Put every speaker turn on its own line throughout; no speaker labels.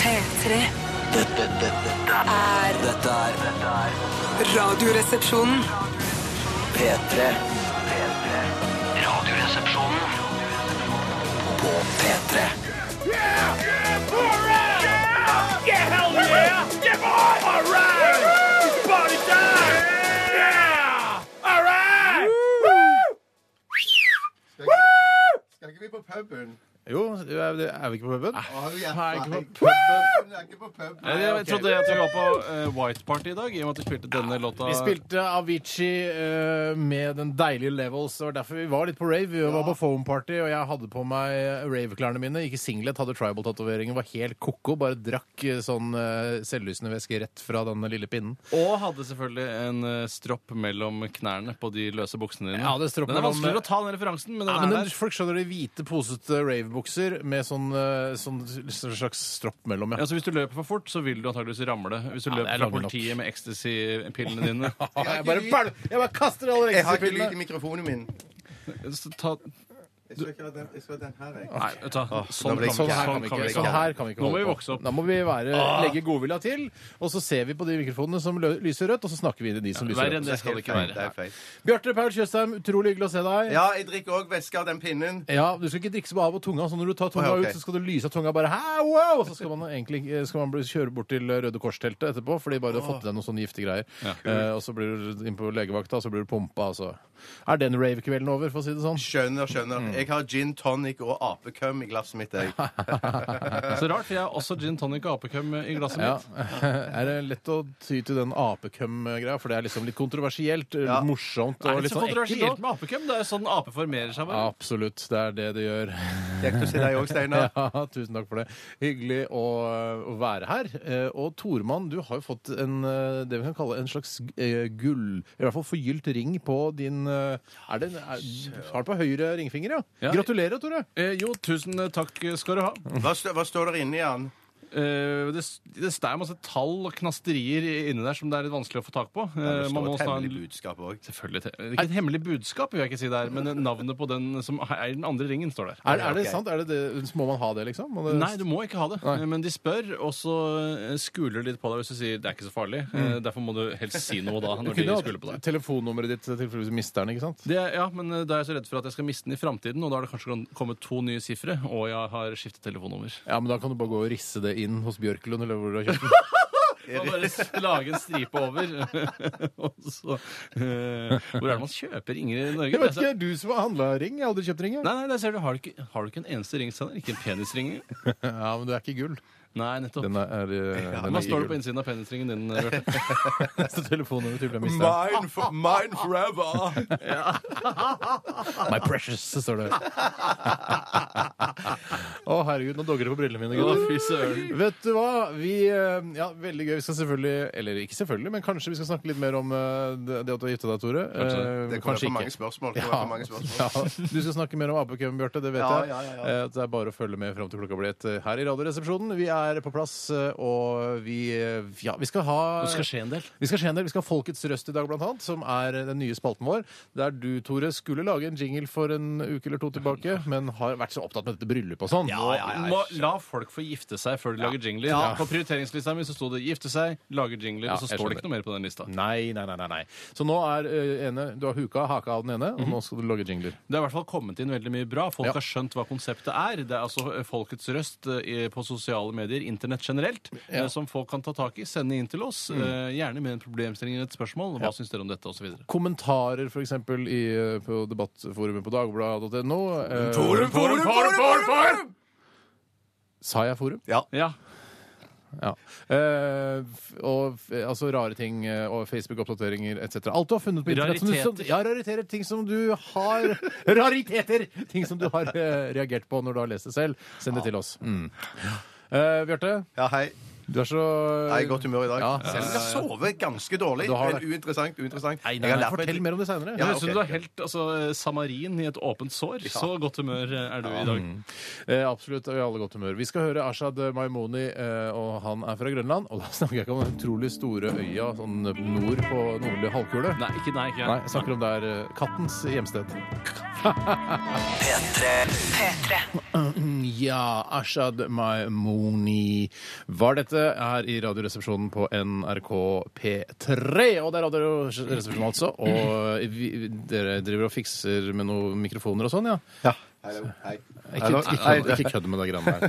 P3
Dette, dette, dette,
er
dette er dette er
Radioresepsjonen.
P3. P3. Radioresepsjonen på P3.
Yeah! Yeah! Alright! Yeah! Yeah! Hell yeah! Yeah, boy! Alright! It's party time! Yeah! Alright!
Skal ikke vi på puben?
Jo, er vi er vi ikke på puben?
Å, jeg
Nei, ikke på
faen, puben! Jeg er ikke på puben.
Jeg, jeg trodde at vi var på eh, White Party i dag, i og med at vi spilte denne låta.
Vi spilte Avicii eh, med den deilige Levels. Det var derfor vi var litt på rave. Vi var på foam party, og jeg hadde på meg rave-klærne mine. Ikke singlet, hadde tribal-tatoveringer, var helt ko-ko. Bare drakk eh, sånn eh, selvlysende væske rett fra den lille pinnen.
Og hadde selvfølgelig en eh, stropp mellom knærne på de løse buksene dine.
Ja, det er stropp
den er
mellom-
vanskeligere å ta, den referansen, men den
Ja, men
er
den,
der.
folk skjønner de hvite, posete rave-bukser med sånn, eh, sånn slags stropp mellom, ja.
Ja, så Altså, Hvis du løper for fort, så vil du antakeligvis ramle. Hvis du
det er
løper fra
lange nok.
politiet med ecstasy-pillene dine
Ah, Jeg bare, bal- jeg bare kaster alle
Jeg har ikke lyd i
regnskapspillene!
mikrofonen min.
så ta,
Jeg skal ikke ha den, jeg skal ha den her, jeg.
Nei, vet du hva. Sånn
ble-
kan vi
Sånn her
ikke
kan vi ikke, sånn her kan vi ikke
Nå må
holde
vi
på.
vokse opp.
Da må vi være, legge godvilja til, og så ser vi på de mikrofonene som lø- lyser rødt, og så snakker vi inn i de som lyser
Verre enn
rødt.
det skal det ikke
Feil,
være.
det er feil.
Bjarte Paul Tjøstheim, utrolig hyggelig å se deg.
Ja, jeg drikker òg væske av den pinnen.
Ja, Du skal ikke drikke så av på tunga, så når du tar tunga
Å, ja, ok.
ut, så skal du lyse av tunga bare «Hæ, wow! Og så skal man egentlig eh, skal man bli, kjøre bort til Røde Kors-teltet etterpå, fordi bare du har fått i deg noen sånne giftige greier. Eh, og så blir du inn på legevakta, og så blir du pumpa, og så er den rave-kvelden over, for å si det sånn.
Skjønner, skjønner. Jeg har gin tonic og apekøm i glasset mitt. Jeg.
Så rart, for jeg har også gin tonic og apekøm i glasset
Ja.
mitt.
Er det lett å ty til den apekøm-greia, for det er liksom litt kontroversielt, litt
Ja.
morsomt
Det
og
er
litt
litt så
sånn
kontroversielt
ekkelt?
med apekøm. Det er jo sånn ape formerer seg. bare.
Absolutt. Det er det det gjør.
Kjekt å se deg òg, Steinar.
Ja, tusen takk for det. Hyggelig å, å være her. Eh, Og Tormann, du har jo fått en, eh, det vi kan kalle en slags eh, gull I hvert fall forgylt ring på din eh, Er det en- er, du Har den på høyre ringfinger, ja?
Ja.
Gratulerer, Tore.
Eh, jo, tusen takk skal du ha.
Hva, stå, hva står der inne i den?
Eh, det, det er masse tall og knasterier inni der som det er litt vanskelig å få tak på. Eh,
Det
man må
står et
også ha en, Ah,
hemmelig budskap òg.
selvfølgelig te- Ikke et hemmelig budskap, vil jeg ikke si der, men navnet på den som er i den andre ringen, står der.
Er, er det
ok.
sant? Er det det, må man ha det, liksom? Må det,
Nei, du må ikke ha det. Eh, Men de spør, og så eh, skuler de litt på deg hvis du sier det er ikke så farlig. Eh, Derfor må du helst si noe da.
du
når de
kunne
skuler på
hatt
deg.
telefonnummeret ditt i tilfelle du mister den, ikke sant?
Det, ja, men eh, da er jeg så redd for at jeg skal miste den i framtiden, og da har det kanskje kommet to nye sifre, og jeg har skiftet telefonnummer.
Ja, men da kan du bare gå og risse det inn hos Bjørklund, eller hvor du har kjøpt den.
Og bare s- lage en stripe over. og så, eh, hvor er det man kjøper ringer i Norge?
Jeg vet
Det er så-
ikke, du som har handla ring. Jeg har aldri kjøpt ring. jeg.
Nei, nei, der ser du, har du ikke, har du ikke en eneste ring, Steinar? Ikke en penisring?
Ja, men det er ikke gull.
Nei, nettopp.
Den er, er, eh, den
Hva
er
står det på
gull.
innsiden av penisringen din? Bjarte?
Neste telefonnummer til jeg mister.
Mine, for, mine forever!
My precious, så står det. Å, herregud, nå dogger det på brillene mine, gutter.
Å, fy søren.
Vet du hva? Vi eh, Ja, veldig gøy. Vi skal selvfølgelig Eller ikke selvfølgelig, men kanskje vi skal snakke litt mer om eh, det det at du har gifta deg, Tore. Eh,
Det kommer for mange spørsmål. Det kommer for mange spørsmål.
Ja, du skal snakke mer om apekøen, Bjarte. Det vet
Ja,
jeg.
ja, ja, ja.
Eh, Det er bare å følge med fram til klokka blir ett eh, her i Radioresepsjonen. Vi er på plass, eh, og vi eh, Ja, vi skal ha
Det skal skje en del.
vi skal skje en del. Vi skal ha Folkets røst i dag, blant annet, som er eh, den nye spalten vår. Der du, Tore, skulle lage en jingle for en uke eller to tilbake, men har vært så opptatt med dette bryllupet og sånn.
Må la folk få gifte seg før de lager jingler. På prioriteringslista mi så sto det 'gifte seg', lage jingler,
Ja,
og så
jeg
står det
skjønner.
ikke noe mer på den lista.
Nei, nei, nei, nei, nei. Så nå er eh, ene, du har huka haka av den ene, og nå
Mhm.
skal du lage jingler.
Det har i hvert fall kommet inn veldig mye bra. Folk
Ja.
har skjønt hva konseptet er. Det er altså eh, folkets røst eh, i- på sosiale medier, internett generelt, eh,
Ja. Mm.
som folk kan ta tak i, sende inn til oss. eh, Gjerne med en problemstilling eller et spørsmål. Hva syns dere om dette, osv.
Kommentarer, for eksempel, i, eh, på debattforumet på dagbladet.no. Eh,
Forum, forum, forum, forum, forum!
Sa jeg forum?
Ja.
Ja. Eh, f- og f- altså rare ting eh, og Facebook-oppdateringer etc. Alt du har funnet på internett. som du- Som,
Rariteter.
ja, rariteter. Ting som du har Rariteter! Ting som du har eh, reagert på når du har lest det selv. Send det til oss. Mm. Eh, Bjarte,
Ja, hei.
du er så
Jeg er i godt humør i dag.
Ja.
Selv om jeg sover ganske dårlig.
Du har
Men
det.
uinteressant. uinteressant.
Nei,
Jeg
nei,
har
nei,
lært meg-
fortell mer om det seinere.
Ja,
Det høres ut som
ok,
du har
ok.
helt altså, samarin i et åpent sår. Så godt humør eh, er du i dag.
Eh, absolutt. Vi er alle i godt humør. Vi skal høre Ashad Maimoni, eh, og han er fra Grønland. Og da snakker jeg ikke om den utrolig store øya sånn nord på nordlige halvkule.
Nei, ikke nei. ikke
Nei, jeg snakker om der eh, kattens hjemsted.
P3.
Mm, Ja, Ashad Maimoni Var dette her i Radioresepsjonen på NRK P3. Og det er Radioresepsjonen, altså. Og vi, dere driver og fikser med noen mikrofoner og sånn, ja? Ikke,
Nei, nå-
ikke,
nei,
kødd- ikke kødd med det greiene der.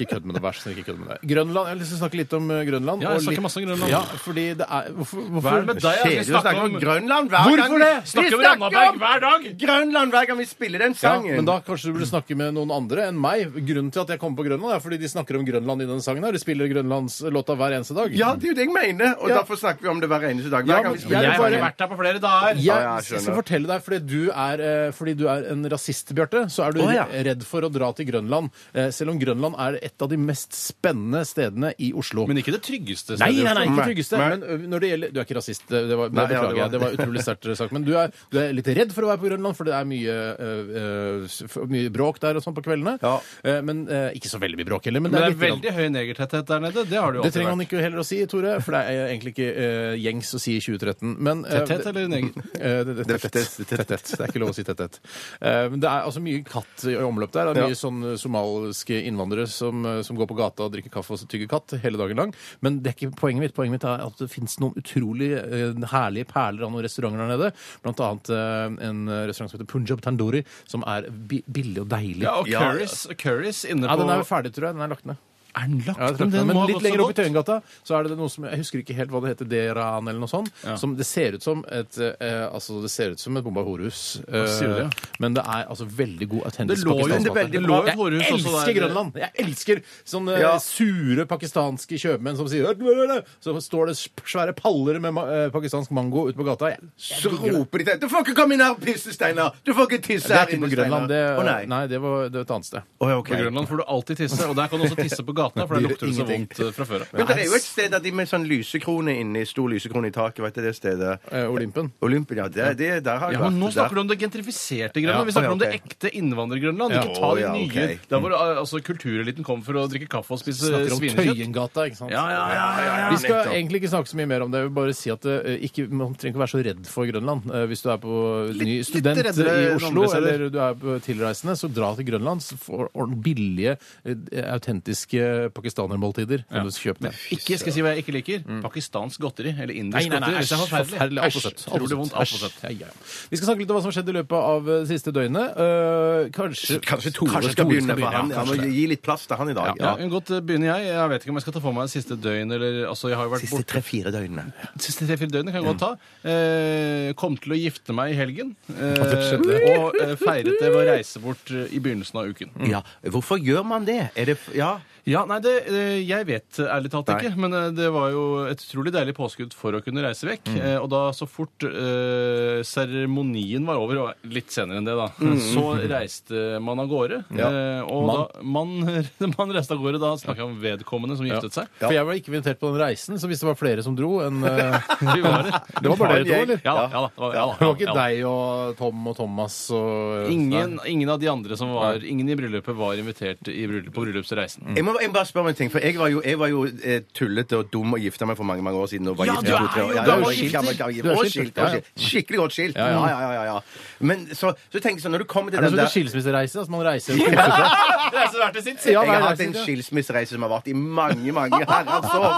Ikke kødd med det, vær så snill. ikke kødd med det. Grønland, Jeg har lyst til å snakke litt om eh, Grønland.
Ja, jeg
og
snakker
litt-
masse om Grønland.
Ja, fordi det er Hvorfor? hvorfor?
Hva er det med deg?
Kjedelig å snakke om Grønland hver gang
Hvorfor det?
Vi
Snakker om Randaberg hver dag!
Grønland hver gang vi spiller den
Ja,
sangen.
men da kanskje du burde snakke med noen andre enn meg. Grunnen til at jeg kommer på Grønland, er fordi de snakker om Grønland i denne sangen. her. De spiller Grønlandslåta hver eneste dag.
Ja, det er jo det jeg mener, og
Ja.
derfor snakker vi om det hver eneste dag. Hver
Ja,
gang
men
vi
Jeg
Jeg
spiller
har
bare-
ikke vært der på flere dager.
Jeg,
Ja, jeg skjønner.
jeg skal fortelle deg, fordi du er, eh, fordi du er en rasist, Bjarte, så er du
Å, ja.
redd for å dra til Grønland. eh, Selv om Grønland er et av de mest spennende stedene i Oslo.
Men ikke det tryggeste
Nei,
stedet.
nei, nei, ikke
Nei,
tryggeste.
nei.
Men ø, når det gjelder Du er ikke rasist, eh, det, det var,
Nei, ja, det
beklager jeg.
var-
Det var utrolig sterkt eh, sagt. Men du er, du er litt redd for å være på Grønland, for det er mye, ø, ø, s- f- mye bråk der og sånn på kveldene.
Ja.
Eh, Men eh, ikke så veldig mye bråk heller. Men det
Men
er,
det er
litt grann.
veldig høy negertetthet der nede. Det har du jo
det
alltid
trenger man
vært.
ikke heller å si, Tore, for det er egentlig ikke eh, gjengs å si i 2013. Men, eh,
Tetthet eller neger?
Eh, det- det- Tett, tett, tett, tett. Det er ikke lov å si tett, tett. Eh, Men det er altså mye katt i omløp der. Det er mye sånn somaliske innvandrere som, eh, som går på gata og drikker kaffe og tygger katt hele dagen lang. Men det er ikke poenget mitt. Poenget mitt er at det finnes noen utrolig eh, herlige perler av noen restauranter der nede. Blant annet eh, en restaurant som heter Punjab Tandoori, som er bi billig og deilig.
Ja, og curries, curries inne
Ja,
på
den er jo ferdig, tror jeg. Den er lagt ned.
Er den lagt?
Ja, jeg trakk
Men
den,
den må
men
ha
litt
gått så
lenger opp i
godt.
Tøyengata så er det noe som Jeg husker ikke helt hva det heter, Deran eller noe sånt. Som det ser ut som et eh, Altså, det ser ut som et bomba horehus. Eh,
sier du det?
Men det er altså veldig god
Det
autentisk
lå jo
pakistansk
det
mat der.
veldig- lå jo et
Jeg
horehus også
elsker
der.
Grønland! Jeg elsker sånne eh,
Ja.
sure pakistanske kjøpmenn som sier «Hørt, hørt, hørt», Så står det svære paller med ma eh, pakistansk mango ute på gata. Jeg,
Så roper de til Du får ikke komme inn her, pisse, Steinar! Du får ikke tisse
det
her
er ikke på
inne,
Grønland. Det,
Steinar! Å,
nei.
nei.
det var det var et annet sted.
Å, ja, ok.
På Grønland får du alltid tisse, og der kan du også tisse på gata,
Det
for der
gjør
lukter det så
ingenting.
vondt eh, fra før av.
Men det er jo et sted der de med sånn lysekrone inni, stor lysekrone i taket, vet du det stedet?
Eh, Olympen.
Olympia, det, det, der har jeg
Ja, men Nå
vært.
snakker du om det gentrifiserte Grønland.
Ja,
Vi snakker
ja,
om det
ok.
ekte innvandrer-Grønland.
Ja.
Ikke ta de
Å, ja,
nye
ok.
der hvor eh, altså, kultureliten kommer for å drikke kaffe og spise
Snakker om
svinekjøtt.
Tøyengata, ikke sant?
Ja, ja, ja, ja, ja.
Vi skal
nettopp.
egentlig ikke snakke så mye mer om det. Jeg vil bare si at eh, ikke, Man trenger ikke være så redd for Grønland. Eh, Hvis du er på ny
litt
student
reddere
i
enn
Oslo,
andre steder.
eller du er på tilreisende, så dra til Grønland. Så får ordentlig billige, eh, autentiske pakistanermåltider. Kan du kjøpe der.
Ikke, skal jeg si hva jeg ikke liker? Pakistansk godteri. Eller
Mm. Nei,
indisk
nei, nei,
godteri.
æsj,
Det er
forferdelig.
forferdelig.
Alt for
Æsj,
søtt. Alt for
Utrolig vondt.
søtt.
Alt for
Æsj.
søtt.
Ja, ja, ja. Vi skal snakke litt om hva som skjedde i løpet av eh, siste døgnet. Eh, kanskje,
Kanskje Tore skal begynne, for han.
ja,
Han
kanskje
må
det.
gi litt plass til han i dag.
Ja, jeg kan godt eh, begynne jeg. Jeg vet ikke om jeg skal ta for meg det siste døgn, eller altså, jeg har jo vært
Siste
borte
tre-fire døgnene.
siste tre-fire døgnene kan jeg godt ta. Eh, kom til å gifte meg i helgen.
det
Eh,
skjedde.
og eh, feiret det ved å reise bort eh, i begynnelsen av uken.
Ja, hvorfor gjør man det? Er det f- Ja.
Ja, nei, det, eh, Jeg vet eh, ærlig talt
Nei.
ikke, men eh, det var jo et utrolig deilig påskudd for å kunne reise vekk. Eh, Og da så fort eh, seremonien var over, og litt senere enn det, da, så reiste man av gårde.
Ja.
Eh, Og da man, man reiste av gårde, da snakker jeg om vedkommende som giftet seg.
For jeg var ikke invitert på den reisen, så hvis det var flere som dro enn eh,
Vi var det.
Det var bare dere to, eller?
Ja, ja, da, det var- ja, da,
Det var
ja,
ikke
da.
deg og Tom og Thomas og
Ingen, ingen av de andre som var,
Nei.
ingen i bryllupet var invitert i bryllup, på bryllupsreisen.
Jeg må jeg må bare spørre om en ting, for jeg var jo, jeg var jo eh, tullete og dum og gifta meg for mange mange år siden. Og var
Ja,
gift
du
i
er
to-tre år.
jo
Ja, jeg
gammel
var skilt,
gifter.
gammel, gammel,
Du er
og
skilt,
skilt, og
ja, ja.
skilt. Skikkelig godt skilt. Ja, ja, ja. ja, ja. Men så, så tenker jeg sånn, når du kommer til
Er det
den
sånn
der
skilsmissereise? Altså man reiser og koser seg?
Reise hvert til sitt.
Ja,
jeg
hver
har hatt en
reise, ja.
skilsmissereise som har vart i mange mange herrens år.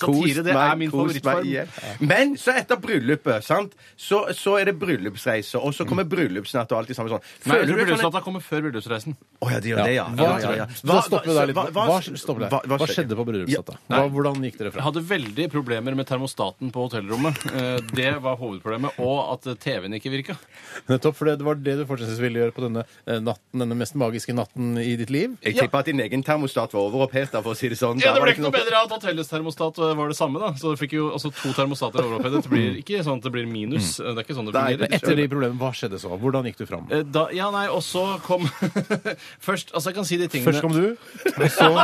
Satire, det er min favorittform.
igjen. Men så etter bryllupet, sant, så, så er det bryllupsreise, og så kommer bryllupsnatt og alt det samme sånn.
Nei, jeg
Føler du
tror
sånn at-
bryllupsnatta kommer før bryllupsreisen.
Å ja, det gjør det, ja.
Hva,
ja, ja, ja.
Da stopper vi der litt.
hva-
Hva, stopper der? hva skjedde på bryllupsnatta? Hva- Hvordan gikk dere
Jeg
fra?
hadde veldig problemer med termostaten på hotellrommet. Eh, Det var hovedproblemet, og at TV-en ikke virka.
Nettopp, for det var det du fortsatt ville gjøre på denne eh, natten, denne mest magiske natten i ditt liv.
Jeg tipper at din egen termostat var overoppheta, for å si det sånn. Der
Ja, det
var
ble ikke noe bedre av at hotellets termostat var det samme, da. Så du fikk jo altså, to termostater overopphetet. Det blir ikke sånn at det blir minus. Det er ikke sånn det
Nei,
fungerer.
Men etter de problemene, hva skjedde så? Hvordan gikk du fram?
Eh, Da, ja, nei, og så kom Først, altså jeg kan si de tingene
Først kom du, og så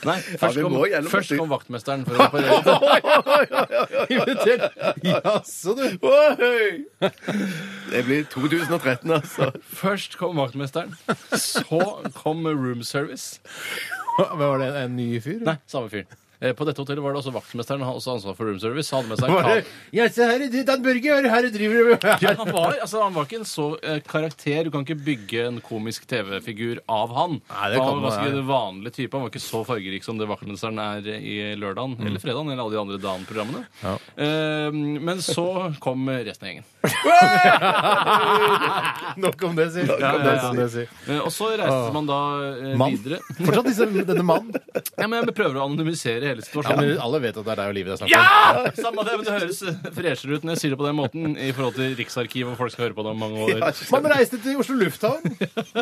Nei, først,
vi
kom,
må gjennom
først
det.
kom vaktmesteren for å reparere.
invitert. Jaså, du.
Ohoi! Det blir 2013, altså.
Først kom vaktmesteren, så kom room service.
Hva- Var det en ny fyr?
Nei, samme fyren. Eh, På dette hotellet var det også vaktmesteren, han hadde også ansvar for room service. Han hadde med seg en
Bare,
kake.
ja, se her, er Dan Børge, her driver du med
Ja, han, var, altså, han var ikke en så eh, karakter. Du kan ikke bygge en komisk TV-figur av han.
Nei, det kan
han var
man,
ganske
nei.
vanlig type. Han var ikke så fargerik som det vaktmesteren er eh, i lørdagen
Mm.
eller fredagen eller alle de andre dagen-programmene. Eh, men så kom resten av gjengen.
Nok om det, sier
Ja, ja, ja.
Nok om det, sier.
Eh, og så reiste man da eh,
Mann.
videre.
Fortsatt disse, denne mannen.
Ja, men jeg prøver å anonymisere hele
Ja,
situasjonen.
men alle vet at det er deg og livet det er snakk om.
Ja! Samme det, men det høres freshere ut når jeg sier det på den måten i forhold til Riksarkivet, og folk skal høre på det om mange år.
Man reiste til Oslo lufthavn,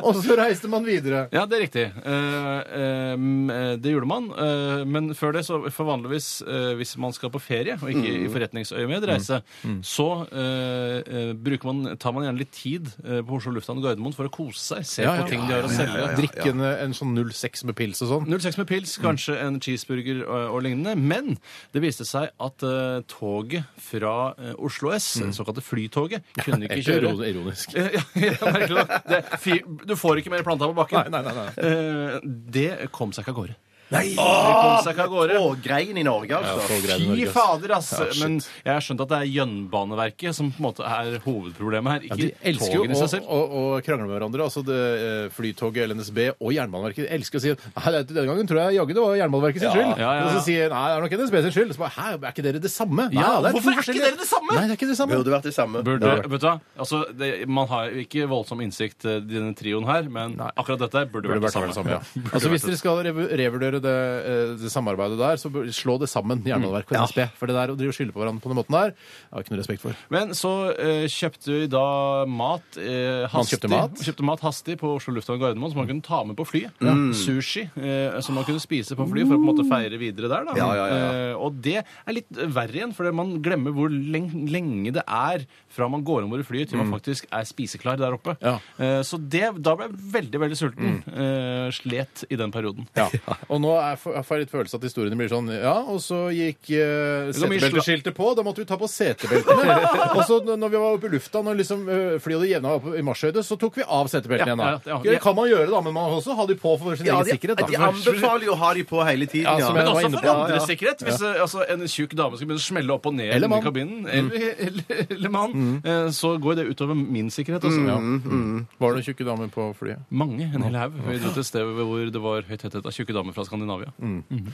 og så reiste man videre.
Ja, det er riktig. Eh, eh, mm, eh, det gjorde man. Eh, men før det, så for vanligvis eh, hvis man skal på ferie, og ikke
Mm.
i forretningsøyemed reise, så eh, eh, bruker man, tar man gjerne litt tid eh, på Oslo lufthavn Gardermoen for å kose seg, se
Ja, ja,
på ting
ja,
de har å selge.
Drikke en, en sånn 06 med pils og sånn.
06 med pils, kanskje en cheeseburger og, og lignende. Men det viste seg at eh, toget fra eh, Oslo S,
Mm.
det såkalte Flytoget, kunne ikke kjøre.
Iron- Ironisk.
Eh, ja, ja, merkelig nok. Det, er fi, du får ikke mer planta på bakken.
Nei, nei, nei,
Eh, det kom seg ikke av gårde. Det kom seg ikke av gårde.
Tågreien i Norge, altså.
Fy fader, ass! Men jeg har skjønt at det er Jønbaneverket som på en måte er hovedproblemet her.
Ja,
Ikke
de elsker jo
togene i
å,
seg selv.
å, å krangle med hverandre. altså det, eh, Flytoget, LNSB og Jernbaneverket de elsker å si «Nei, det- denne gangen tror jeg jaggu det var Jernbaneverket sin skyld.
ja, ja, ja.
Og så sier nei, det er nok NSB sin skyld. Så bare, Hæ, er ikke dere det samme? Nei,
Ja,
det
hvorfor
to
er ikke
forskjellige-
dere det samme?
Nei, det er ikke det samme.
Burde vært det samme.
Burde, vet du hva? Altså, det, man har jo ikke voldsom innsikt eh, i denne trioen her, men akkurat dette her burde,
Burde
vært
vært
det samme.
ja. Altså Hvis dere skal revu- revurdere det, eh, det samarbeidet der, så bør- slå det sammen, Jernbaneverket
Mm.
og NSB. For det der å drive og skylde på hverandre på den måten der, jeg har ikke noe respekt for.
Men så eh, kjøpte vi da mat eh, hastig.
kjøpte mat?
Kjøpte mat hastig på Oslo lufthavn Gardermoen, som man kunne ta med på flyet. Sushi, eh, som man kunne spise på flyet for å på en måte feire videre der. Da.
Ja, ja, ja, ja.
Eh, og det er litt eh, verre igjen, for man glemmer hvor leng lenge det er fra man går om bord i flyet til man faktisk er spiseklar der oppe.
Ja.
Eh, så det, da ble jeg veldig, veldig sulten. Eh, slet i den perioden.
Ja. Og nå er, får jeg litt følelse at historiene blir sånn Ja, og så gikk eh,
Så mye sla-
setebelteskiltet på. Da måtte vi ta på setebeltene. og så n- når vi var oppe i lufta, når liksom eh, flyet hadde jevna opp i marsjhøyde, så tok vi av setebeltene
Ja,
igjen. da.
ja, ja.
Det kan man gjøre, da, men man må også ha de på for sin
Ja,
egen
de,
sikkerhet.
de
Da.
anbefaler jo å ha de på hele tiden.
Ja, som
ja.
jeg
altså, Men
var
også
inne på.
for
Ja,
andres
ja.
sikkerhet. Hvis eh, altså, en tjukk dame skal begynne å smelle opp og ned
Eller
i
mann. Mm.
kabinen, eller, eller, eller mann, eh, så går det utover min sikkerhet. Også.
Mm. Var det noen tjukke damer på flyet?
Mange, en hel haug. Vi dro til et sted hvor det var høy tetthet av tjukke damer fra Skandinavia.
Mm.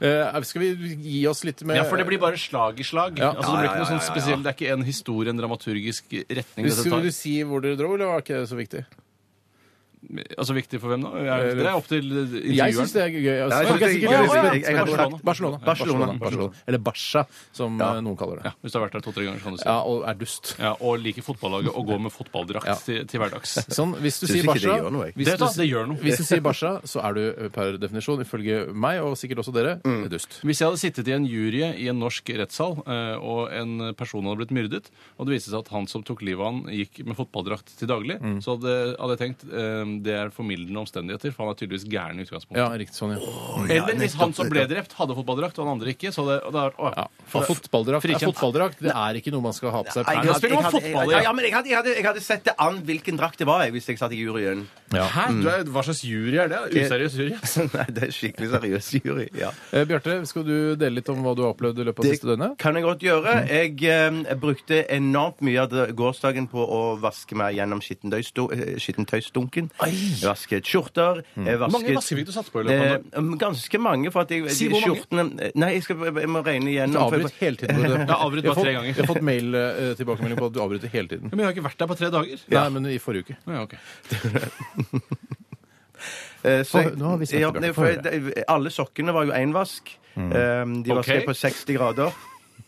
Eh, skal vi gi oss litt med
Ja, for det blir bare slag i slag.
Ja.
Altså, det blir ikke noe sånn spesiell, det er ikke en historie, en dramaturgisk retning dette
Skulle
tar.
du si hvor dere dro, eller var ikke det så viktig?
Altså viktig for hvem da? Er det- Det er opp til eh, intervjueren.
Eh, Jeg syns det er gøy. Altså,
jeg
folk er
synes det er
sikkert
gøy.
veldig spent.
Jeg- jeg- jeg-
Barcelona. Barcelona.
Barcelona.
Eller Barca, som eh, noen kaller det.
Ja, hvis du har vært der to-tre ganger, kan du si.
Ja, og er dust.
Ja, og liker fotballaget og går med fotballdrakt
Ja.
til, til hverdags.
Sånn, hvis
Synes
du
ikke
sier
det
Barca
gjør noe, jeg.
hvis
Det, sånn
du-
da, det gjør noe.
Hvis du sier Barca, så er du eh, per definisjon, ifølge meg og sikkert også dere, eh, dust.
Hvis jeg hadde sittet i en jury i en norsk rettssal, eh, og en person hadde blitt myrdet, og det viste seg at han som tok livet av han, gikk med fotballdrakt til daglig, så hadde, hadde jeg tenkt eh, det er formildende omstendigheter, for han er tydeligvis gæren i utgangspunktet.
Ja, riktig sånn, ja.
Eller hvis han som ble drept, hadde fotballdrakt, og han andre ikke, så hadde og det hadde vært
ja.
å,
For fotballdrakt, er
Frikjent.
fotballdrakt det er ikke noe man skal ha på seg.
Nei, jeg
per-
hadde-
spiller man
jeg hadde- jeg-
fotball, ja.
Ja, men jeg hadde, jeg, hadde, jeg hadde sett det an hvilken drakt det var jeg, hvis jeg satt i juryen.
Hæ? Du er, hva slags jury er det? Useriøs jury?
Nei, det er skikkelig seriøs jury. Ja.
Eh, Bjarte, skal du dele litt om hva du har opplevd i løpet av
Det
siste døgnet?
kan jeg godt gjøre. Jeg, eh, jeg brukte enormt mye av det- gårsdagen på å vaske meg gjennom skittentøysto- eh, skittentøysdunken. Jeg vasket skjorter. Jeg
Mm. Hvor mange
vasket
vaskefikker du satte på i løpet av
eh,
dagen?
ganske mange. For at jeg,
Si hvor mange.
skjortene- Nei, jeg, skal, jeg må regne
Du
igjennom. for jeg-
avbryter hele tiden. Bjarte.
Jeg har avbrytt
Jeg har
bare
fått-
tre ganger.
Jeg har fått mail eh, tilbakemelding på at du avbryter hele tiden.
Ja, Men jeg har ikke vært der på tre dager.
Nei, men i forrige uke.
Å, Ja, ok.
Eh, så
Få-
jeg-
nå har vi snakket,
ja,
Bjarte.
nei,
Få
for jeg- det- Alle sokkene var jo énvask. Eh, De
Mm. Ok.
vasket på 60 grader.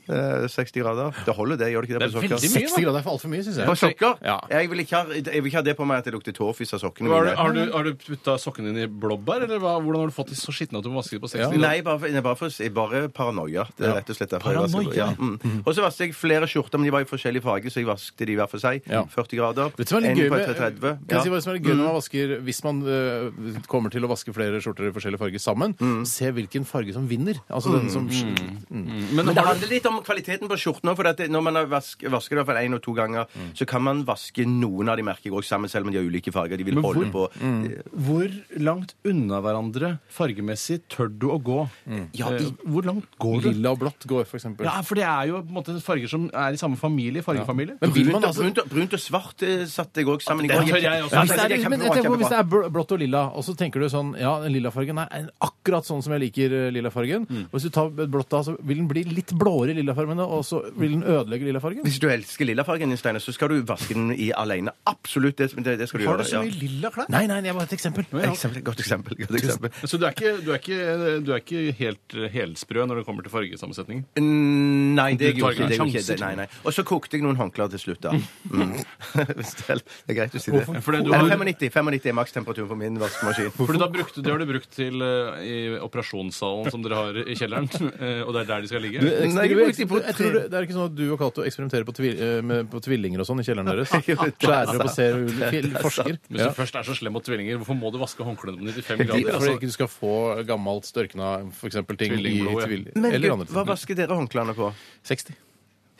Eh, 60 grader. Det holder, det. Gjør det ikke det
Det er
på sokker?
veldig mye.
60 grader er for altfor mye, syns
På
jeg.
sokker?
Ja.
Jeg, vil ikke ha, jeg vil ikke ha det på meg at det lukter tåfis av sokkene
Har du,
mine.
har du, har du putta sokkene dine i blåbær, eller hva, hvordan har du fått de så skitne at du må vaske dem på 60 grader?
Nei, bare, for- nei, bare, for, å si- bare paranoia. Det er rett og slett derfor jeg vasker-
Paranoia?
Ja,
Mhm.
mm. Og så vasket jeg flere skjorter, men de var i forskjellige farger, så jeg vasket de hver for seg.
Ja.
40 grader.
Vet du hva som er
En
litt gøy
på
med,
30.
kan jeg si hva som er litt gøy når man vasker Hvis man eh, kommer til å vaske flere skjorter i forskjellige farger sammen, se hvilken farge som vinner. Altså den som
Men,
Men det handler litt om om kvaliteten på skjorten òg, for at det- når man har vask, vasker det i hvert fall én og to ganger,
Mm.
så kan man vaske noen av de merker jeg også sammen, selv om de har ulike farger. De vil
Men
holde på
Mm.
Eh,
Hvor langt unna hverandre fargemessig tør du å gå?
Ja,
Eh,
i-
Hvor langt går du?
Lilla og blått går, for eksempel.
Ja, for det er jo på en måte farger som er i samme familie, fargefamilie.
Men vil man
brunt, og-
altså
brunt, og- brunt og svart eh, satte jeg òg sammen i
Det
går.
tør jeg også.
Ja,
Hvis det er,
kjempebra,
men jeg tenker på, hvis det
kjempebra.
er bl- blått og lilla, og så tenker du sånn Ja, den lilla fargen er en- akkurat sånn som jeg liker eh, lilla fargen. Og hvis du tar blått da, så vil den bli litt blåere i lilla fargen, da, og så vil den ødelegge lilla fargen.
Hvis du elsker lillafargen din, Steinar, så skal du vaske den i alene. Absolutt. Det, det, det skal du
Har du
gjøre.
så
ja.
mye lilla klær? Nei, nei, det er bare et eksempel.
Eksempel, godt eksempel. Godt eksempel.
Så du er, ikke, du, er ikke, du er ikke helt eh, helsprø når det kommer til fargesammensetning?
Mm, Nei, det gjorde
Du tar
ikke det.
ikke
Gjorde ikke det. Nei, nei. Og så kokte jeg noen håndklær til slutt, da. Mm. Hvis det er det er greit å si det.
Fordi du
Eller
har-
95, 95 er makstemperaturen på min vaskemaskin.
Fordi da brukte, Det har du brukt til eh, i operasjonssalen som dere har i kjelleren. eh, og det er der de skal ligge.
Nei, jeg brukte de på
Jeg tror det, det er ikke sånn at du og Cato eksperimenterer på, tvil, eh, med, på tvillinger og sånn i kjelleren deres?
Jo, det er
Skjærer og
sant.
baserer og fil- forsker?
Hvis
Ja.
du først er så slem mot tvillinger, hvorfor må du vaske håndklærne på 95
Fordi
grader?
fordi
Altså?
ikke du skal få gammelt størkna for eksempel, ting i
Tvillingblod, ja.
tvill...
Men
Eller
Gud,
andre
hva
ting.
vasker dere håndklærne på?
60.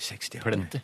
60.
Plenty.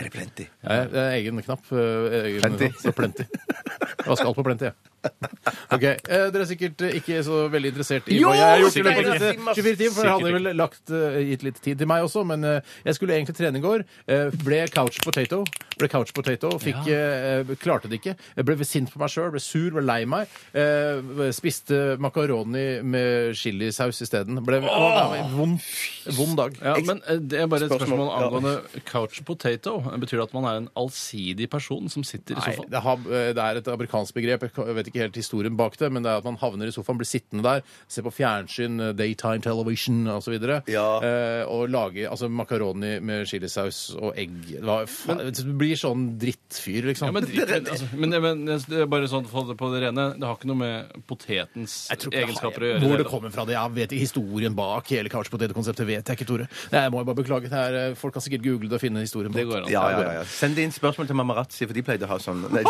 Er det plenty?
Ja, ja, det er egen knapp. eh, Egen,
Plenty.
knapp, Så plenty. Jeg vasker alt på plenty, jeg. Ok, eh, Dere er sikkert eh, ikke så veldig interessert i
Jo,
hva jeg har gjort. i
sikkert
løpet av
ikke.
disse 24 timer, for Dere hadde vel lagt, eh, gitt litt tid til meg også, men eh, jeg skulle egentlig trene i går. eh, Ble couch potato. Ble couch potato, fikk, eh, Klarte det ikke. Jeg ble sint på meg sjøl, ble sur, ble lei meg. eh, Spiste makaroni med chilisaus isteden. Ble det var en vond, vond dag.
Ja, men eh, det er bare et
Spørsmål.
spørsmål
Ja.
angående couch potato. Betyr det at man er en allsidig person som sitter i
Nei,
sofaen?
det, har, eh, det er et amerikansk begrep. Jeg kan- Jeg vet ikke helt historien bak det, men det er at man havner i sofaen, blir sittende der, se på fjernsyn, eh, daytime television osv.
Ja.
Eh, og lage altså, makaroni med chilisaus og egg. Det var, fa- du blir sånn drittfyr, liksom.
Ja, men, drit- men, altså, men, men det er bare sånn for å holde det på det rene. Det har ikke noe med potetens
Jeg tror ikke det har-
egenskaper å gjøre.
Hvor
i det
det
hele
kommer fra, det jeg vet ikke historien bak hele couch potato-konseptet, vet jeg ikke, Tore. Jeg må jo bare beklage. Det er, eh, folk kan sikkert google det og finne historien. bak
Det går an.
Ja, ja, ja, ja. Send inn spørsmål til Mamarazzi, for de pleide å ha sånn Nei.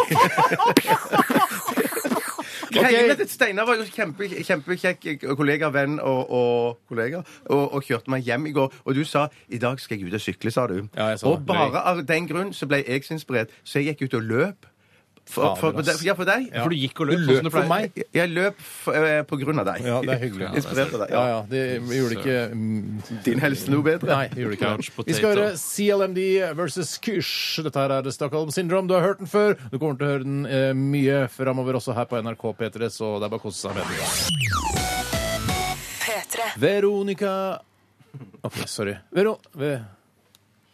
Greien er at Steinar var jo kjempe, kjempekjekk kollega, venn og, og kollega, og, og kjørte meg hjem i går. Og du sa 'i dag skal jeg ut og sykle', sa du.
Ja, jeg sa
og
det.
bare av den grunn så ble jeg så inspirert, så jeg gikk ut og løp. For, for,
Fader, ass.
ja, for deg.
For du gikk og løp,
Du
sånn som du
løp for
pleier.
meg.
Jeg, jeg løp f eh, på grunn av deg.
Ja, det er hyggelig.
Inspirert av deg.
Ja,
Ja.
ja. Det gjorde ikke mm,
Din helse noe bedre?
Nei, gjorde ikke
Couch
det. Vi skal
potato.
høre CLMD versus Kysh. Dette her er Stockholm Syndrome. Du har hørt den før. Du kommer til å høre den eh, mye framover også her på NRK P3, så det er bare å kose seg med den.
P3.
Veronica OK, sorry. Vero... Ve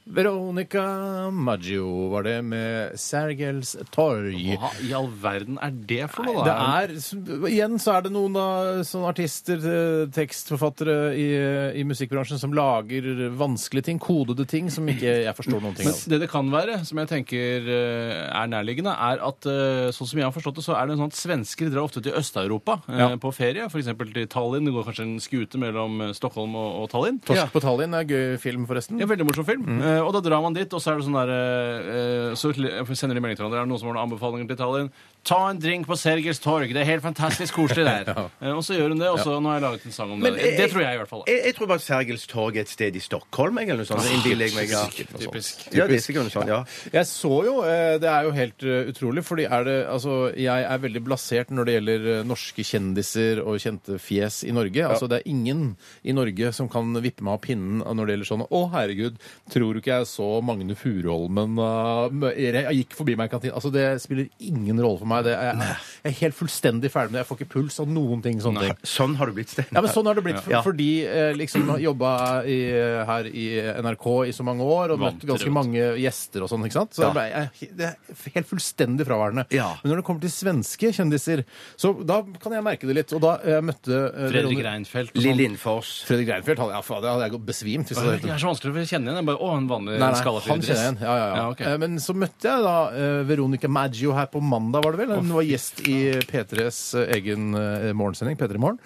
Veronica Maggio var det med Sergels torg.
Hva i all verden er det for noe,
Det
da?
er, igjen så er det noen av sånne artister, eh, tekstforfattere i, eh, i musikkbransjen som lager vanskelige ting, kodede ting, som ikke jeg forstår noen ting av.
Men det det kan være, som jeg tenker eh, er nærliggende, er at eh, sånn som jeg har forstått det, så er det sånn at svensker drar ofte til Øst-Europa eh,
Ja.
på ferie. F.eks. til Tallinn. Det går kanskje en skute mellom eh, Stockholm og, og Tallinn.
Torsk på Tallinn er en gøy film, forresten.
Ja, veldig morsom film.
Mm.
Eh, og da drar man dit, og så er det sånn der eh, eh, Så kl- sender de melding til hverandre. Er det noen som har noen anbefalinger til Tallinn? Ta en drink på Sergels torg. Det er helt fantastisk koselig der. Eh, og så gjør hun det, og så nå har jeg laget en sang om det.
jeg-
eh,
det tror jeg i hvert fall. Ah,
Jeg, jeg tror bare Sergels torg er et sted i Stockholm, jeg, eller noe sånt. Det innbiller jeg meg. Ja.
Typisk.
Ja, det er sikkert noe sånt, ja.
Jeg så jo eh, Det er jo helt eh, utrolig, fordi er det Altså, jeg er veldig blasert når det gjelder eh, norske kjendiser og kjente fjes i Norge. Altså, det er ingen i Norge som kan vippe meg av pinnen når det gjelder sånn Å, herregud, tror du ikke jeg så Magne Furuholmen uh, mø- Jeg gikk forbi meg i kantina Altså, det spiller ingen rolle for meg. Det er, jeg, jeg er helt fullstendig ferdig med det. Jeg får ikke puls av noen ting. Sånne ting.
Sånn har du blitt,
Ja,
Steinar.
men Sånn har det blitt. For,
Ja.
Fordi eh, liksom har jobba i, eh, her i NRK i så mange år og møtt
Vant til
ganske
det, vet
mange gjester og sånn. ikke sant? Så
Ja.
det ble- jeg, det er helt fullstendig fraværende.
Ja.
Men når det kommer til svenske kjendiser, så da kan jeg merke det litt. Og da eh, møtte eh,
Fredrik
Veronica-
Reinfeldt. og
Lill
sånn.
Lindfors.
Fredrik Reinfeldt hadde, ja, faen, det hadde jeg gått besvimt. hvis jeg hadde
Det er så vanskelig for å kjenne igjen. Jeg bare, å, en vanlig
sånn- Nei, nei,
skalla fyr i
han kjenner jeg
dress.
igjen. Ja, ja, ja.
Ja, ok.
Eh, Men så møtte jeg da eh, Veronica Maggio her på mandag, var det det vel. Hun var gjest i P3s egen eh, morgensending, P3 Morgen.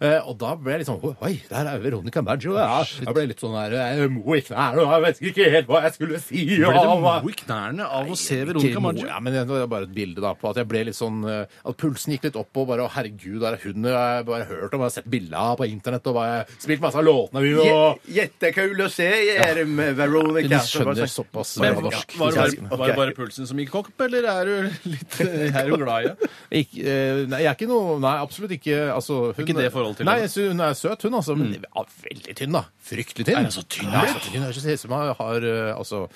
Eh, og da ble jeg litt sånn Oi, der er Veronica Maggio! Ja. Jeg ble litt sånn der eh, Mo i knærne, og jeg vet ikke helt hva jeg skulle si!
Ble det
og-
mo i knærne av å se Veronica Maggio?
Ja, men det var bare et bilde da på at jeg ble litt sånn eh, At pulsen gikk litt opp og bare Å, herregud, der er hun. Jeg har bare hørt om, jeg har sett bilder av på internett og bare spilt masse av låtene mine og
Jettekul å se, er det med Veronica. sånn
De skjønner såpass
Men,
bra
var,
norsk.
var,
hvis
var,
jeg skal-
var det bare pulsen som gikk opp, eller er du litt er du glad i henne?
Ikke, eh, nei, jeg er ikke noe Nei, absolutt ikke. Altså, hun,
Ikke det forholdet til
Nei,
henne?
jeg sy- hun er søt, hun, altså. Men ja, veldig tynn, da. Fryktelig tynn.
Er hun så tynn, altså?
Ja,
ja?
så tynn. Jeg synes man har eh, Altså,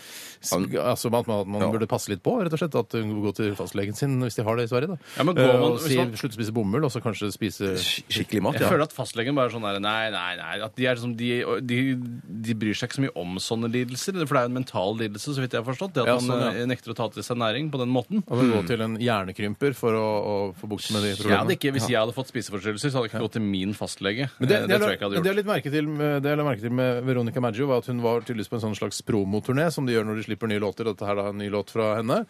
s- altså at man, at man burde passe litt på, rett og slett. At hun går til fastlegen sin hvis de har det i Sverige, da.
Ja, men går
Eh,
man-
og
hvis
si,
man-
slutt å spise bomull, og så kanskje spise
Skikkelig mat,
Jeg
ja.
føler at fastlegen bare er sånn der, Nei, nei, nei. At de, er som, de, de, de bryr seg ikke så mye om sånne lidelser. For det er jo en mental lidelse, så vidt jeg har forstått. Det at
Ja, sånn,
man
ja.
eh, nekter å ta til seg næring på den måten.
Og gå til en hjernekrymper for å, å få bukt med de
Jeg hadde
problemene.
ikke, hvis jeg hadde fått spiseforstyrrelser, så hadde jeg ikke gått til min fastlege.
Men det,
Eh,
det,
tror jeg ikke jeg
det
hadde
jeg
gjort.
litt merke til, med- det jeg la merke til med Veronica Maggio, var at hun var tydeligvis på en sånn slags promoturné, som de gjør når de slipper nye låter. Dette her da er en ny låt fra henne.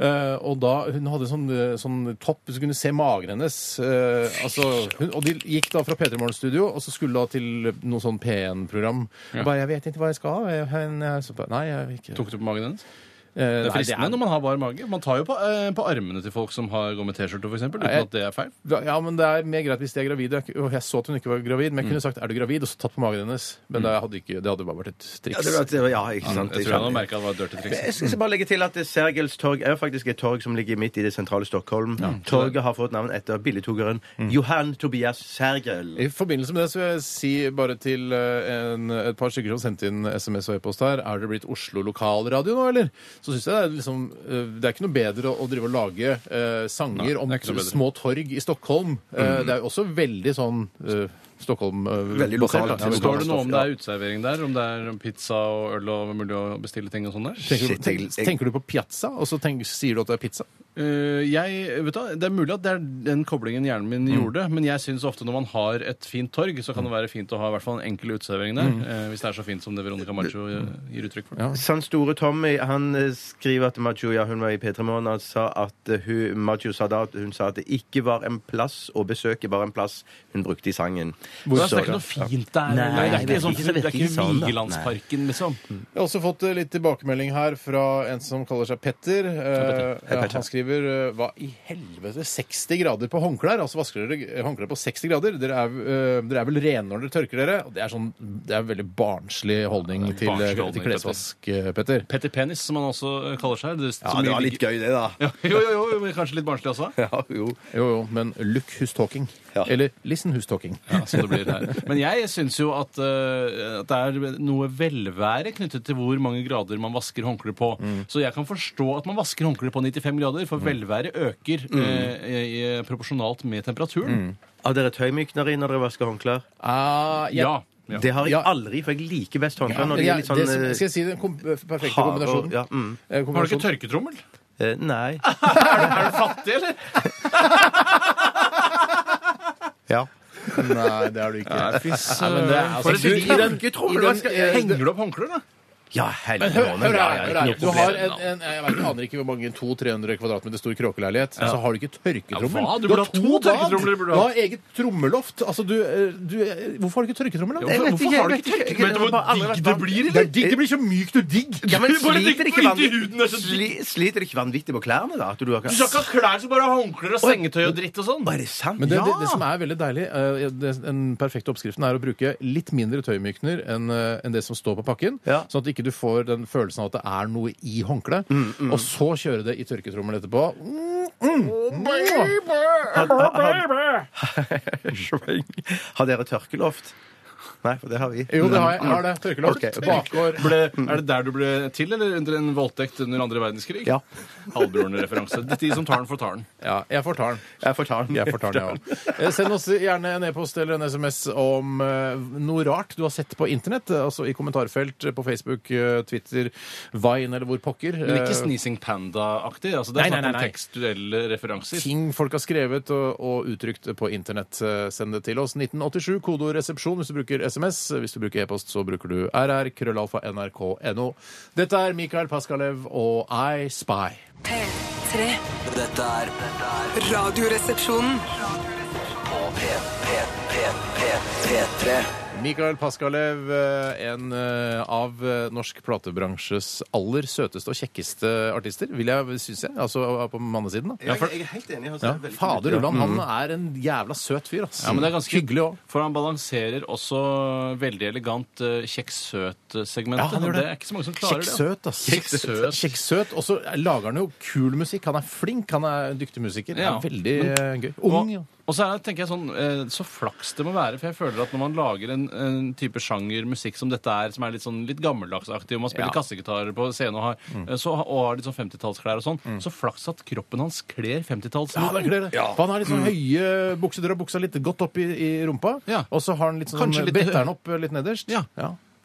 Eh, og da hun hadde sånn, eh, sånn topp, så kunne du se magen hennes. eh, altså, hun, og de gikk da fra P3 Morgens studio, og så skulle da til noe sånn P1-program. Bare 'Jeg vet ikke hva jeg skal ha'. Jeg- hun- jeg- så bare, Nei, jeg vil ikke
Tok du på magen hennes?
Eh,
Det
nei,
er
det
fristende når man har bar mage. Man tar jo på, eh, på armene til folk som har gått med T-skjorte, f.eks., uten
jeg-
at det er feil.
Ja, men det er mer greit hvis de er gravide. Jeg- Og jeg så at hun ikke var gravid, men jeg
Mm.
kunne sagt 'er du gravid?' og så tatt på magen hennes. Men det hadde, ikke, det hadde bare vært et triks.
Ja, det var, det var, ja, ikke sant.
Jeg tror jeg hadde merket at det var et dirty triks.
Jeg skal bare legge til at Sergels torg er faktisk et torg som ligger midt i det sentrale Stockholm. Torget har fått navn etter billedhuggeren
Mm.
Johan Tobias Sergel.
I forbindelse med det så vil jeg si bare til eh, en, et par stykker som sendte inn SMS og e-post her, er det blitt Oslo lokalradio nå, eller? Så syns jeg det er liksom eh, Det er ikke noe bedre å, å drive og lage eh,
Nei, det
sanger
er
om
ikke noe bedre. Mm.
små torg i Stockholm. Eh, det er jo også veldig sånn eh, Stockholm eh,
Veldig lokalt.
basert, da. Ja,
Står
Står det noe om det
ja.
er uteservering der? Om det er pizza og øl og mulig å bestille ting og sånn der?
Tenker,
Shit,
du- tenk,
jeg-
tenker du på piazza, og så tenk, sier du at det er pizza?
Eh, jeg, vet du, hva, det er mulig at det er den koblingen hjernen min
Mm.
gjorde, men jeg syns ofte når man har et fint torg, så kan det være fint å ha i hvert fall en enkel uteservering der.
Mm.
eh, hvis det er så fint som det Veronica Maggio eh, gir uttrykk for.
Sann Sånn Store Tommy han eh, skriver at Maggio, ja, hun var i P3 Morgen, og sa at eh, hun, Maggio sa da at hun sa at det ikke var en plass å besøke, bare en plass hun brukte i sangen.
Så
Så-
det er ikke noe fint der.
Nei,
eller? det er
jeg
ikke,
vet
sånn,
ikke, så
det
vet
er ikke
ikke sånn, da.
Vigelandsparken, liksom.
Jeg har også fått eh, litt tilbakemelding her fra en som kaller seg Petter. Eh,
Hei, Petter.
Han skriver eh, Hva i helvete? 60 grader på håndklær? Altså vasker dere eh, håndklær på 60 grader? Dere er, eh, dere er vel rene når dere tørker dere? Og det er sånn, det er en veldig barnslig holdning til,
barnslig
eh,
holdning,
til klesvask, eh, Petter.
Petter Penis, som han også eh, kaller seg. Det,
Ja, det var litt gøy, det, da.
Ja, jo, jo, jo, men kanskje litt barnslig også.
Ja, jo.
Jo, jo, men look who's talking.
Ja.
Eller listen who's talking.
Ja, som det blir her. Men jeg syns jo at, eh, at det er noe velvære knyttet til hvor mange grader man vasker håndklær på. Så jeg kan forstå at man vasker håndklær på 95 grader, for velvære øker eh, eh, proporsjonalt med temperaturen.
Har dere tøymykneri når dere vasker håndklær?
Ah, jeg-
Ja. ja.
Det har jeg
Ja.
aldri, for jeg liker best håndklær
Men
når de
jeg-
er litt sånn
det som,
eh,
skal jeg si den kom, perfekte
harde
kombinasjonen?
og- ja, mm.
Eh,
Har du ikke
kombinasjonen.
tørketrommel?
Eh, Nei.
Er du fattig, eller?
Ja.
Nei, det har du ikke.
Nei, fy søren.
men det er-
eh, For
altså,
et
du- i den-
Trommelvasker-
i den- eh,
Henger du opp håndklær, da?
Ja, helvete.
Hør, hør
Ja, ja,
her, hør
ikke
her.
noe
Du har
problem.
en, en jeg vet, aner ikke hvor mange 200-300 kvadratmeter stor kråkeleilighet, så har du ikke tørketrommel.
Ja, hva? Du burde ha to
bad.
tørketromler, burde du
Du
ha.
har eget trommeloft. Altså, du, eh, du, eh, hvorfor har du ikke tørketrommel? da?
Hvorfor,
Jeg vet
hvorfor
ikke,
har du
jeg vet
ikke
ikke.
tørketrommel? Vet du
Jeg har aldri
hvor
vært
digg det
vant-
blir,
Det
eller?
er digg, det blir så mykt og digg.
Ja, men
Du
sliter
bare tenker
ikke
på
vanv-
litt i huden, det er så
Sli, sliter ikke vanvittig på klærne, da? At du har...
Du skal ikke ha klær som bare har håndklær og sengetøy og dritt og sånn.
Å, er det sant?
Men det,
ja!
det, det som er veldig deilig, eh, det, den perfekte oppskriften er å bruke litt mindre tøymykner enn eh, enn det som står på pakken,
Ja.
sånn at ikke du får den følelsen av at det er noe i håndkleet,
Mm,
og så kjøre det i tørketrommelen etterpå. Mm, mm.
Oh Har dere tørkeloft? Nei, for det har vi.
Jo, det har jeg. jeg har det. Tørkeloft.
Ok.
Bakgård.
Ble, er det der du ble til, eller under en voldtekt under andre verdenskrig?
Ja.
Halvbroren-referanse. De som tar den, får ta den.
Ja, jeg får ta den.
Jeg får ta den.
Jeg fortar den, jeg også. Eh, Send oss gjerne en e-post eller en SMS om eh, noe rart du har sett på internett. eh, Altså i kommentarfelt eh, på Facebook, eh, Twitter, Vine eller hvor pokker.
Men ikke
eh,
Sneezing Panda-aktig. Altså, det
Nei, nei,
er snakk om
nei, nei.
tekstuelle referanser.
Ting folk har skrevet og, og uttrykt på internett. Eh, Send det til oss. 1987, kodeord resepsjon hvis du bruker SMS. Eh, Hvis du bruker e-post, så bruker du rr, krøllalfa, nrk.no. Dette er Mikael Paskalev og I Spy.
P3. P3.
Dette er dette er
Radioresepsjonen.
på P, P, P, P, P3.
Mikael Paskalev, eh, en eh, av eh, norsk platebransjes aller søteste og kjekkeste artister, vil jeg synes jeg. Altså på mannesiden, da.
Jeg, jeg er helt enig. Altså,
Ja.
Det er veldig-
Fader Ulland, han er en jævla søt fyr, ass.
Mm. Ja, men det er ganske
Hyggelig òg.
For han balanserer også veldig elegant eh, kjekk-søt-segmentet.
Ja, han gjør
og det
det.
er ikke så mange som klarer det.
Kjekksøt, ass.
Kjekksøt.
Kjekksøt. Og så lager han jo kul musikk. Han er flink, han er en dyktig musiker. Det
Ja.
er veldig eh, gøy.
Og,
Ung, ja.
og så er, det, tenker jeg sånn, eh, så flaks det må være, for jeg føler at når man lager en, en type sjanger musikk som dette er, som er litt sånn litt gammeldagsaktig, og man spiller
Ja. Mm.
kassegitarer på scenen og har, eh, så, og har litt sånn 50-tallsklær og sånn, så flaks at kroppen hans kler 50-talls.
Ja, det er klart det. For han har litt sånn høye bukser, drar buksa litt godt opp i, i rumpa,
Mm. Ja.
og så har han litt sånn,
Kanskje litt-
bretter han opp eh, litt nederst.
Ja.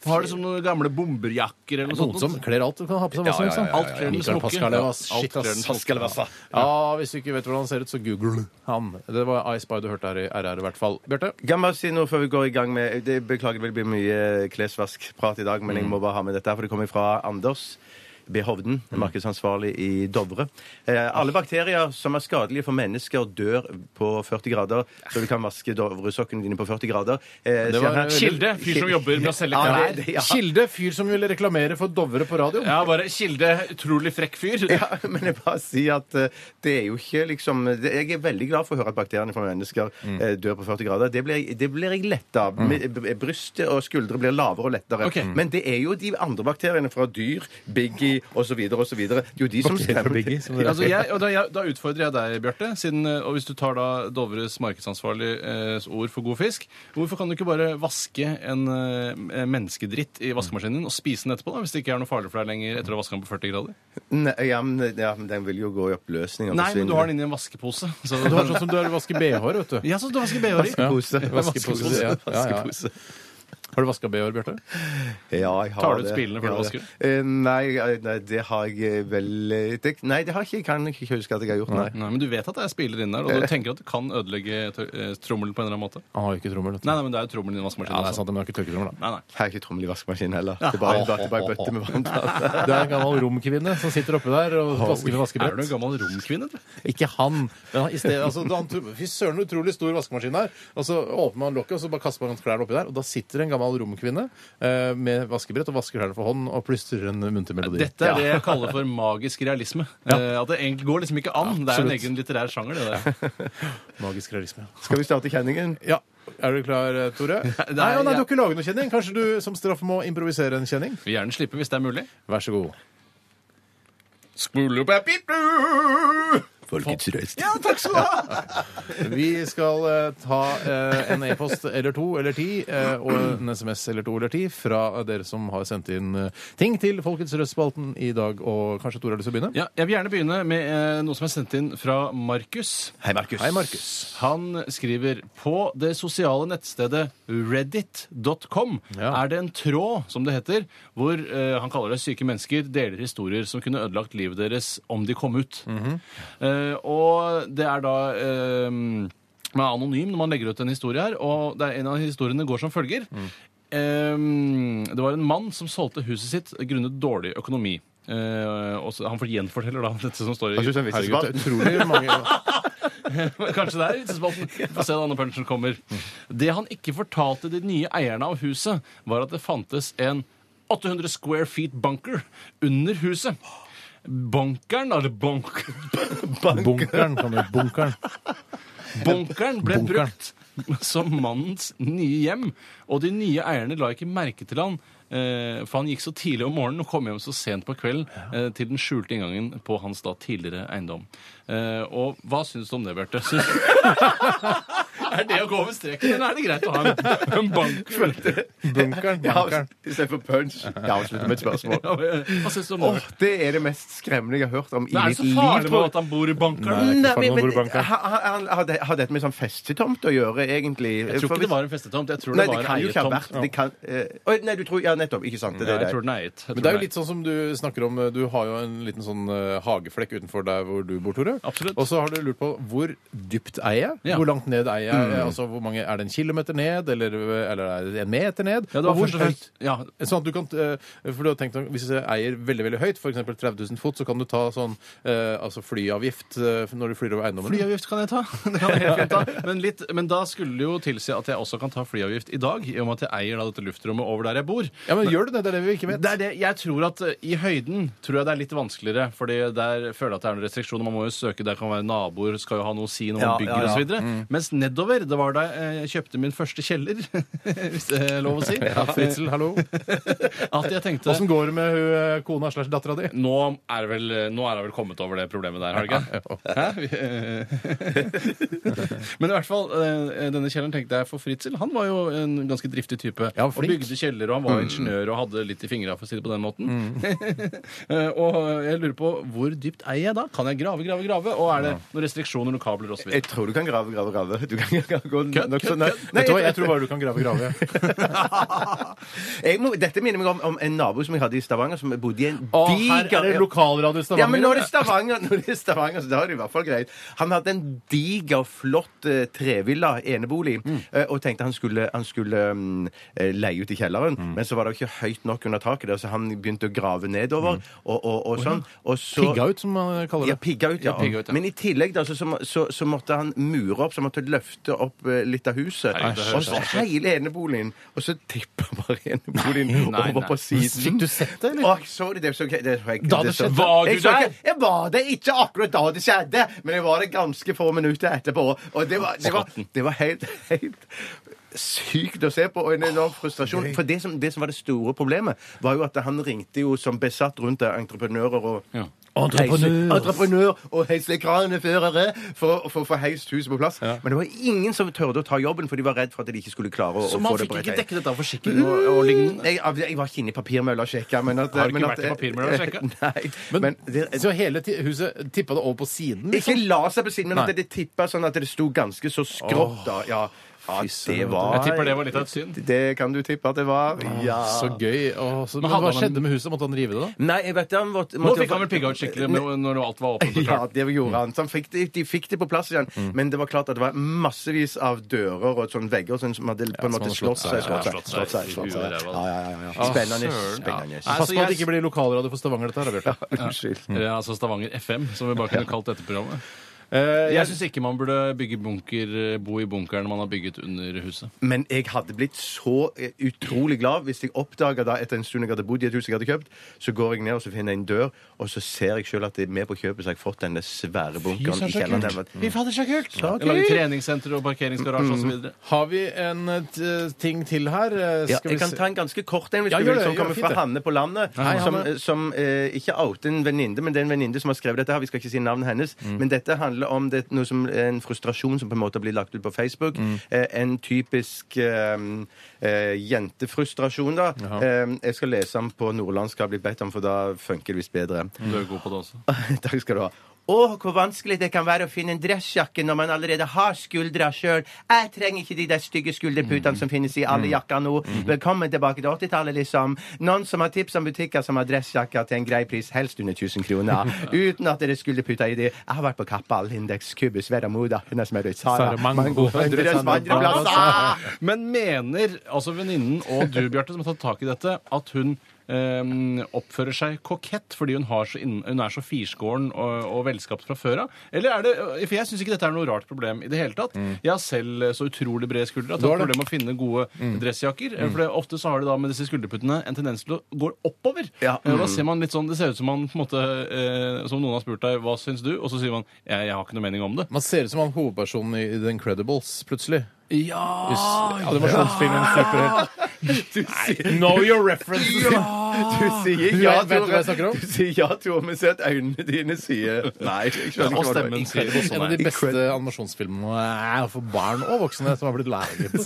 Har liksom noen gamle bomberjakker eller
Noen
noe
som
sånt.
kler alt. Du kan ha på seg hva som helst. da.
Alt kler den
Mikael
smokke.
Pascal, ass.
Alt
Shit,
kler den
ass.
smokke.
Pascal, ass. Ja, hvis du ikke vet hvordan han ser ut, så google han. Det var I Spy du hørte her i RR i hvert fall. Bjarte?
Kan bare si noe før vi går i gang med det, Beklager, det vil bli mye klesvaskprat i dag, men
Mm.
jeg må bare ha med dette, her, for det kommer fra Anders. B. Hovden,
Mm.
markedsansvarlig i Dovre. Eh, alle bakterier som er skadelige for mennesker, dør på 40 grader. Så du kan vaske Dovresokkene dine på 40 grader. Eh,
Det
sier
var
han her.
Kilde, fyr som jobber med å selge
Ja,
klær.
det- det- ja.
Kilde, fyr som ville reklamere for Dovre på radio.
Ja, bare Kilde, utrolig frekk fyr.
Ja, men jeg bare sier at eh, det er jo ikke liksom det, Jeg er veldig glad for å høre at bakteriene fra mennesker
Mm.
eh, dør på 40 grader. Det blir, jeg- det blir jeg letta av. Mi- b- Brystet og skuldre blir lavere og lettere.
Ok.
Mm.
Men det er jo de andre bakteriene fra dyr, Biggie osv. osv. Det er jo de som skremmer
Altså jeg, og da, jeg, da utfordrer jeg deg, Bjarte. Siden, eh, og hvis du tar da Dovres markedsansvarliges ord for god fisk, hvorfor kan du ikke bare vaske en eh, menneskedritt i vaskemaskinen din og spise den etterpå, da, hvis det ikke er noe farlig for deg lenger etter å vaske den på 40 grader?
Nei, ja, men, ja, men den vil jo gå i oppløsning. og
Nei, men
forsvinne.
du har den inni en vaskepose. Så
Du har sånn som du har vasket BH-er, vet du.
ja, så du vasker BH-er i.
Vaskepose.
Ja, vaskepose, ja. Ja, ja.
Vaskepose.
Har du vaska BH-er, Bjarte?
Ja, jeg har
Tar du ut
det.
spillene før du
Ja, det.
vasker?
Eh, Nei, eh, nei, det har jeg vel eh, det, Nei, det har ikke, jeg kan ikke huske at jeg har gjort. Nei.
Nei, men du vet at det er spiller inne der, og du tenker at du kan ødelegge tør- eh, trommelen på en eller annen måte?
Han har jo ikke trommel, vet du.
Nei, nei, men det er jo trommelen i
Ja,
vaskemaskinen.
det er
også.
sant, men han har ikke tørketrommel, da.
Nei, nei.
Jeg har ikke trommel i vaskemaskinen heller. Det er bare, det er bare en bøtte med vann.
Du er en gammel romkvinne som sitter oppe der og vasker med
Er du
vaskebrett.
en gammel romkvinne, du?
Ikke han. Men han- i stedet, altså, da han tro- Fy søren, utrolig stor vaskemaskin her. Og så åpner man lokket, og så bare kaster man klærne oppi der. Og da sitter en gammel romkvinne eh, med vaskebrett og vasker klærne for hånd og plystrer en munter melodi.
Dette er det jeg kaller for magisk realisme. Eh, At det egentlig går liksom ikke an. det er jo en
Absolutt.
egen litterær sjanger, det der.
Magisk realisme.
Skal vi starte kjenningen?
Ja. Er du klar, eh, Tore? Nei, nei, nei, du har ikke laget noen kjenning. Kanskje du som straff må improvisere en kjenning?
Vil gjerne slippe hvis det er mulig.
Vær så god.
Folkets røst.
Vi skal eh, ta eh, en e-post eller to eller ti, eh, og en SMS eller to eller ti fra dere som har sendt inn eh, ting til Folkets Røst-spalten i dag. Og kanskje Tore har lyst til å begynne?
Ja, jeg vil gjerne begynne med eh, noe som er sendt inn fra Markus.
Hei, Markus.
Hei, Markus.
Han skriver på det sosiale nettstedet reddit.com
Ja.
er det en tråd, som det heter, hvor eh, han kaller det syke mennesker deler historier som kunne ødelagt livet deres om de kom ut.
Mhm.
Eh, og det er da eh, Man er anonym når man legger ut en historie her, og det er en av historiene går som følger.
Mm.
Eh, det var en mann som solgte huset sitt grunnet dårlig økonomi. Eh, og så, han får gjenforteller da dette som står i
Jeg synes det er en
Herregud, det
vitsespalt.
er utrolig mange
Kanskje det er vitsespalten. Vi Får se da når punchen kommer. Det han ikke fortalte de nye eierne av huset, var at det fantes en 800 square feet bunker under huset. Bunkeren, eller bonk,
Bunkeren kan du bunkeren.
bunkeren ble
Bunkeren.
brukt som mannens nye hjem, og de nye eierne la ikke merke til han, eh, for han gikk så tidlig om morgenen og kom hjem så sent på kvelden eh, til den skjulte inngangen på hans da tidligere eiendom. Eh, Og hva syns du om det, Bjarte? Syns- Er det å gå over streken, eller er det greit å ha en, en banker?
Bunkeren, bunkeren.
Istedenfor punch. Jeg avslutter med et spørsmål.
Hva syns du om det?
Åh, det er det mest skremmende jeg har hørt om i
Det er
mitt
så
liv.
farlig
tror
med
jeg.
at han bor i
Nei.
bankeren.
ikke
Nei,
farlig
men,
med
men,
bordebanker.
ha- ha- ha- har det- har dette med sånn festetomt å gjøre, egentlig?
Jeg tror ikke det var en festetomt. Jeg tror det
Nei, det
var
kan jo ikke ha
eietomt.
vært det kan, eh, oi, Nei, du tror Ja, nettopp. Ikke sant. Det,
Ja,
er
jeg
det.
tror den er eiet.
Men
Jeg tror
det er jo
den
litt sånn som du snakker om eh, Du har jo en liten sånn eh, hageflekk utenfor der hvor du bor, Tore.
Absolutt.
Og så har du lurt på hvor dypt eier jeg?
Ja. Mm.
Hvor langt ned eier jeg? er, altså, hvor mange, er det en kilometer ned, eller, eller er det en meter ned?
Ja, det var
hvor
først og fremst ja,
Sånn at du kan, eh, for du har tenkt, at Hvis du eier veldig veldig høyt, f.eks. 30 000 fot, så kan du ta sånn eh, altså flyavgift eh, når du flyr over eiendommen.
Flyavgift kan jeg ta. Det kan jeg helt fint ta. Men, litt, men da skulle det jo tilsi at jeg også kan ta flyavgift i dag, i og med at jeg eier da dette luftrommet over der jeg bor.
Ja, men Gjør du det? Det er det vi ikke vet.
Det er det, jeg tror at eh, I høyden tror jeg det er litt vansligere, Fordi der føler jeg at det er noen restriksjoner. Man må jo søke, der kan være naboer, skal jo ha noe å si når man
Ja,
bygger
ja, ja.
og så videre Mens nedover, det var da jeg kjøpte min første kjeller, hvis det er lov å si,
Ja, Fritzel, hallo.
at jeg tenkte
Åssen går det med hun, eh, kona slash dattera di?
nå er, vel, nå er jeg vel kommet over det problemet der, har jeg ikke? Hæ? Vi- Men i hvert fall, eh, denne kjelleren tenkte jeg for Fritzel. Han var jo en ganske driftig type.
Ja,
og
flink.
bygde kjeller, og han var ingeniør og hadde litt i fingra, for å si det på den måten. Eh, og jeg lurer på hvor dypt eier jeg da? Kan jeg grave, grave, grave? Og er det noen restriksjoner, noen kabler osv.?
Jeg tror du kan grave, grave, grave. Du kan gå
Kødd,
nok så
kødd,
nøy-
kødd.
Nei,
Vet du hva, Jeg tror bare du kan grave grave.
jeg må, dette minner meg om, om en nabo som jeg hadde i Stavanger, som bodde i en
Å, her
diger
er det lokalradio i Stavanger.
Ja, men når det er Stavanger, når det er Stavanger så da er det i hvert fall greit. Han hadde en diger, flott eh, trevilla, enebolig,
Mm.
eh, og tenkte han skulle, han skulle mm, eh, leie ut i kjelleren.
Mm.
Men så var det jo ikke høyt nok under taket, der, så han begynte å grave
Mm.
nedover og, og, og sånn. Og så,
Pigga ut, som man kaller
Ja,
det.
pigga ut, ja.
Ja, pigga ut, ja.
Men i tillegg da, så, så, så, så måtte han mure opp, så han måtte løfte opp eh, litt av huset.
Nei, det høres
og så hele eneboligen. Og så tippa bare eneboligen
nei,
over
nei.
på siden.
Fikk du sett det, eller?
Åh, jeg så det, det så, det så jeg,
Da det
det så-
skjedde?
Var
Jeg
du
så ikke-
der?
Jeg var det ikke akkurat da det skjedde, men jeg var det ganske få minutter etterpå. Og det var, det var, det var helt, helt sykt å se på, og en enorm frustrasjon. For det som, det som var det store problemet, var jo at han ringte jo som besatt rundt der, entreprenører og
Ja.
Entreprenør. Entreprenør og heisekraneførere for, for å få heist huset på plass. Men det var ingen som turte å ta jobben, for de var redd for at de ikke skulle klare å,
Så
å
man
få det
fikk
på
ikke
rett
dekket dette av forsikring og, og lignende?
Jeg, jeg var ikke inne i papirmølla og sjekka. Men at,
Har du ikke
men
vært i papirmølla og sjekket?
Nei.
Men-
Men, det,
Så hele ti- huset tippa det over på siden?
ikke la seg på siden, men
Nei.
at det tippa sånn at det sto ganske så skrått. Da. Ja, ja, det var
Jeg tipper det var litt av et syn.
Det kan du tippe at det var. Ja.
Så gøy. Åh, så, men
hadde
hva
han en-
skjedde med huset? Måtte han rive det, da?
Nei, jeg vet det, han måtte,
Nå
måtte
fikk han vel pigga ut skikkelig når når alt var åpent og
Ja,
klart.
det gjorde han. Så han fikk det, de fikk det på plass igjen. Men det var klart at det var massevis av dører og sånn vegger og sånn som hadde på en måte
hadde
slått seg.
ja,
slått seg, slått
slått seg
seg,
i
slått
huet
seg.
der,
Ja,
vel.
ja, ja, ja. Spennende.
søren, ja.
Spennende.
Nei,
Pass
så
på at
jeg-
det ikke blir lokalradio for Stavanger, dette her. da, Bjarte.
Unnskyld.
Ja, altså Stavanger FM, som vi bare kunne kalt dette programmet.
Eh,
Jeg syns ikke man burde bygge bunker, eh, bo i bunkeren man har bygget under huset.
Men jeg hadde blitt så eh, utrolig glad hvis jeg oppdaga da etter en stund jeg hadde bodd i et hus jeg hadde kjøpt, så går jeg ned og så finner jeg en dør, og så ser jeg sjøl at det er med på kjøpet så har jeg fått denne svære bunkeren i kjelleren. Den var-
fader, så kult! Jeg lager treningssenter og parkeringsgarasje osv.
Har vi en eh, t- ting til her? Eh,
Ja,
skal vi
jeg kan
se-
ta en ganske kort en, hvis
Ja,
du vil,
gjør det,
som
gjør
kommer
fint
fra
det.
Hanne på landet.
Hei,
som
Hanne.
eh, som eh, ikke outer en venninne, men det er en venninne som har skrevet dette her. Vi skal ikke si navnet hennes.
Mm.
Men dette handler om det, noe som, en frustrasjon som på en måte blir lagt ut på Facebook.
Mm.
Eh, en typisk eh, eh, jentefrustrasjon, da. Eh, jeg skal lese den på nordlandsk, har jeg blitt bedt om, for da funker det visst bedre.
Du er god på det også.
Takk skal du ha. Åh, hvor vanskelig det kan være å finne en dressjakke når man allerede har skuldra sjøl. Jeg trenger ikke de der stygge
Mm.
skulderputene som finnes i alle jakker nå. Velkommen tilbake til 80-tallet, liksom. Noen som har tips om butikker som har dressjakker til en grei pris, helst under 1000 kroner, uten at det er skulderputer i de. Jeg har vært på Kappa, Lindex, Kubus, Vera Moda, Hun er som er rødt, Sara,
Sara Mango,
Hundre
Hundre
Sandra,
Sandra.
altså. Men mener altså venninnen og du, Bjarte, som har tatt tak i dette, at hun eh, oppfører seg kokett fordi hun, har så inn, hun er så firskåren og, og velskapt fra før av? Eller er det For jeg syns ikke dette er noe rart problem i det hele tatt. Jeg har selv så utrolig brede skuldre at jeg
Du har
har
det.
problemer med å finne gode dressjakker. eh, For det, ofte så har de da med disse skulderputtene en tendens til å gå oppover.
Ja.
Eh, og Da ser man litt sånn Det ser ut som man på en måte eh, Som noen har spurt deg, hva syns du? Og så sier man jeg, jeg har ikke noe mening om det.
Man ser ut som han hovedpersonen i The Incredibles, plutselig.
Ja,
Hvis animasjonsfilmen slipper helt Know your references!
Du
Ah.
sier
Du
ja,
vet- vet du hva jeg snakker
Tore.
om?
Du sier ja, Tore, men se at øynene dine sier Nei. Jeg skjønner ikke
Og
hva det var.
stemmen sier det
En av
sånn.
de beste animasjonsfilmene er for barn og voksne som har blitt laget.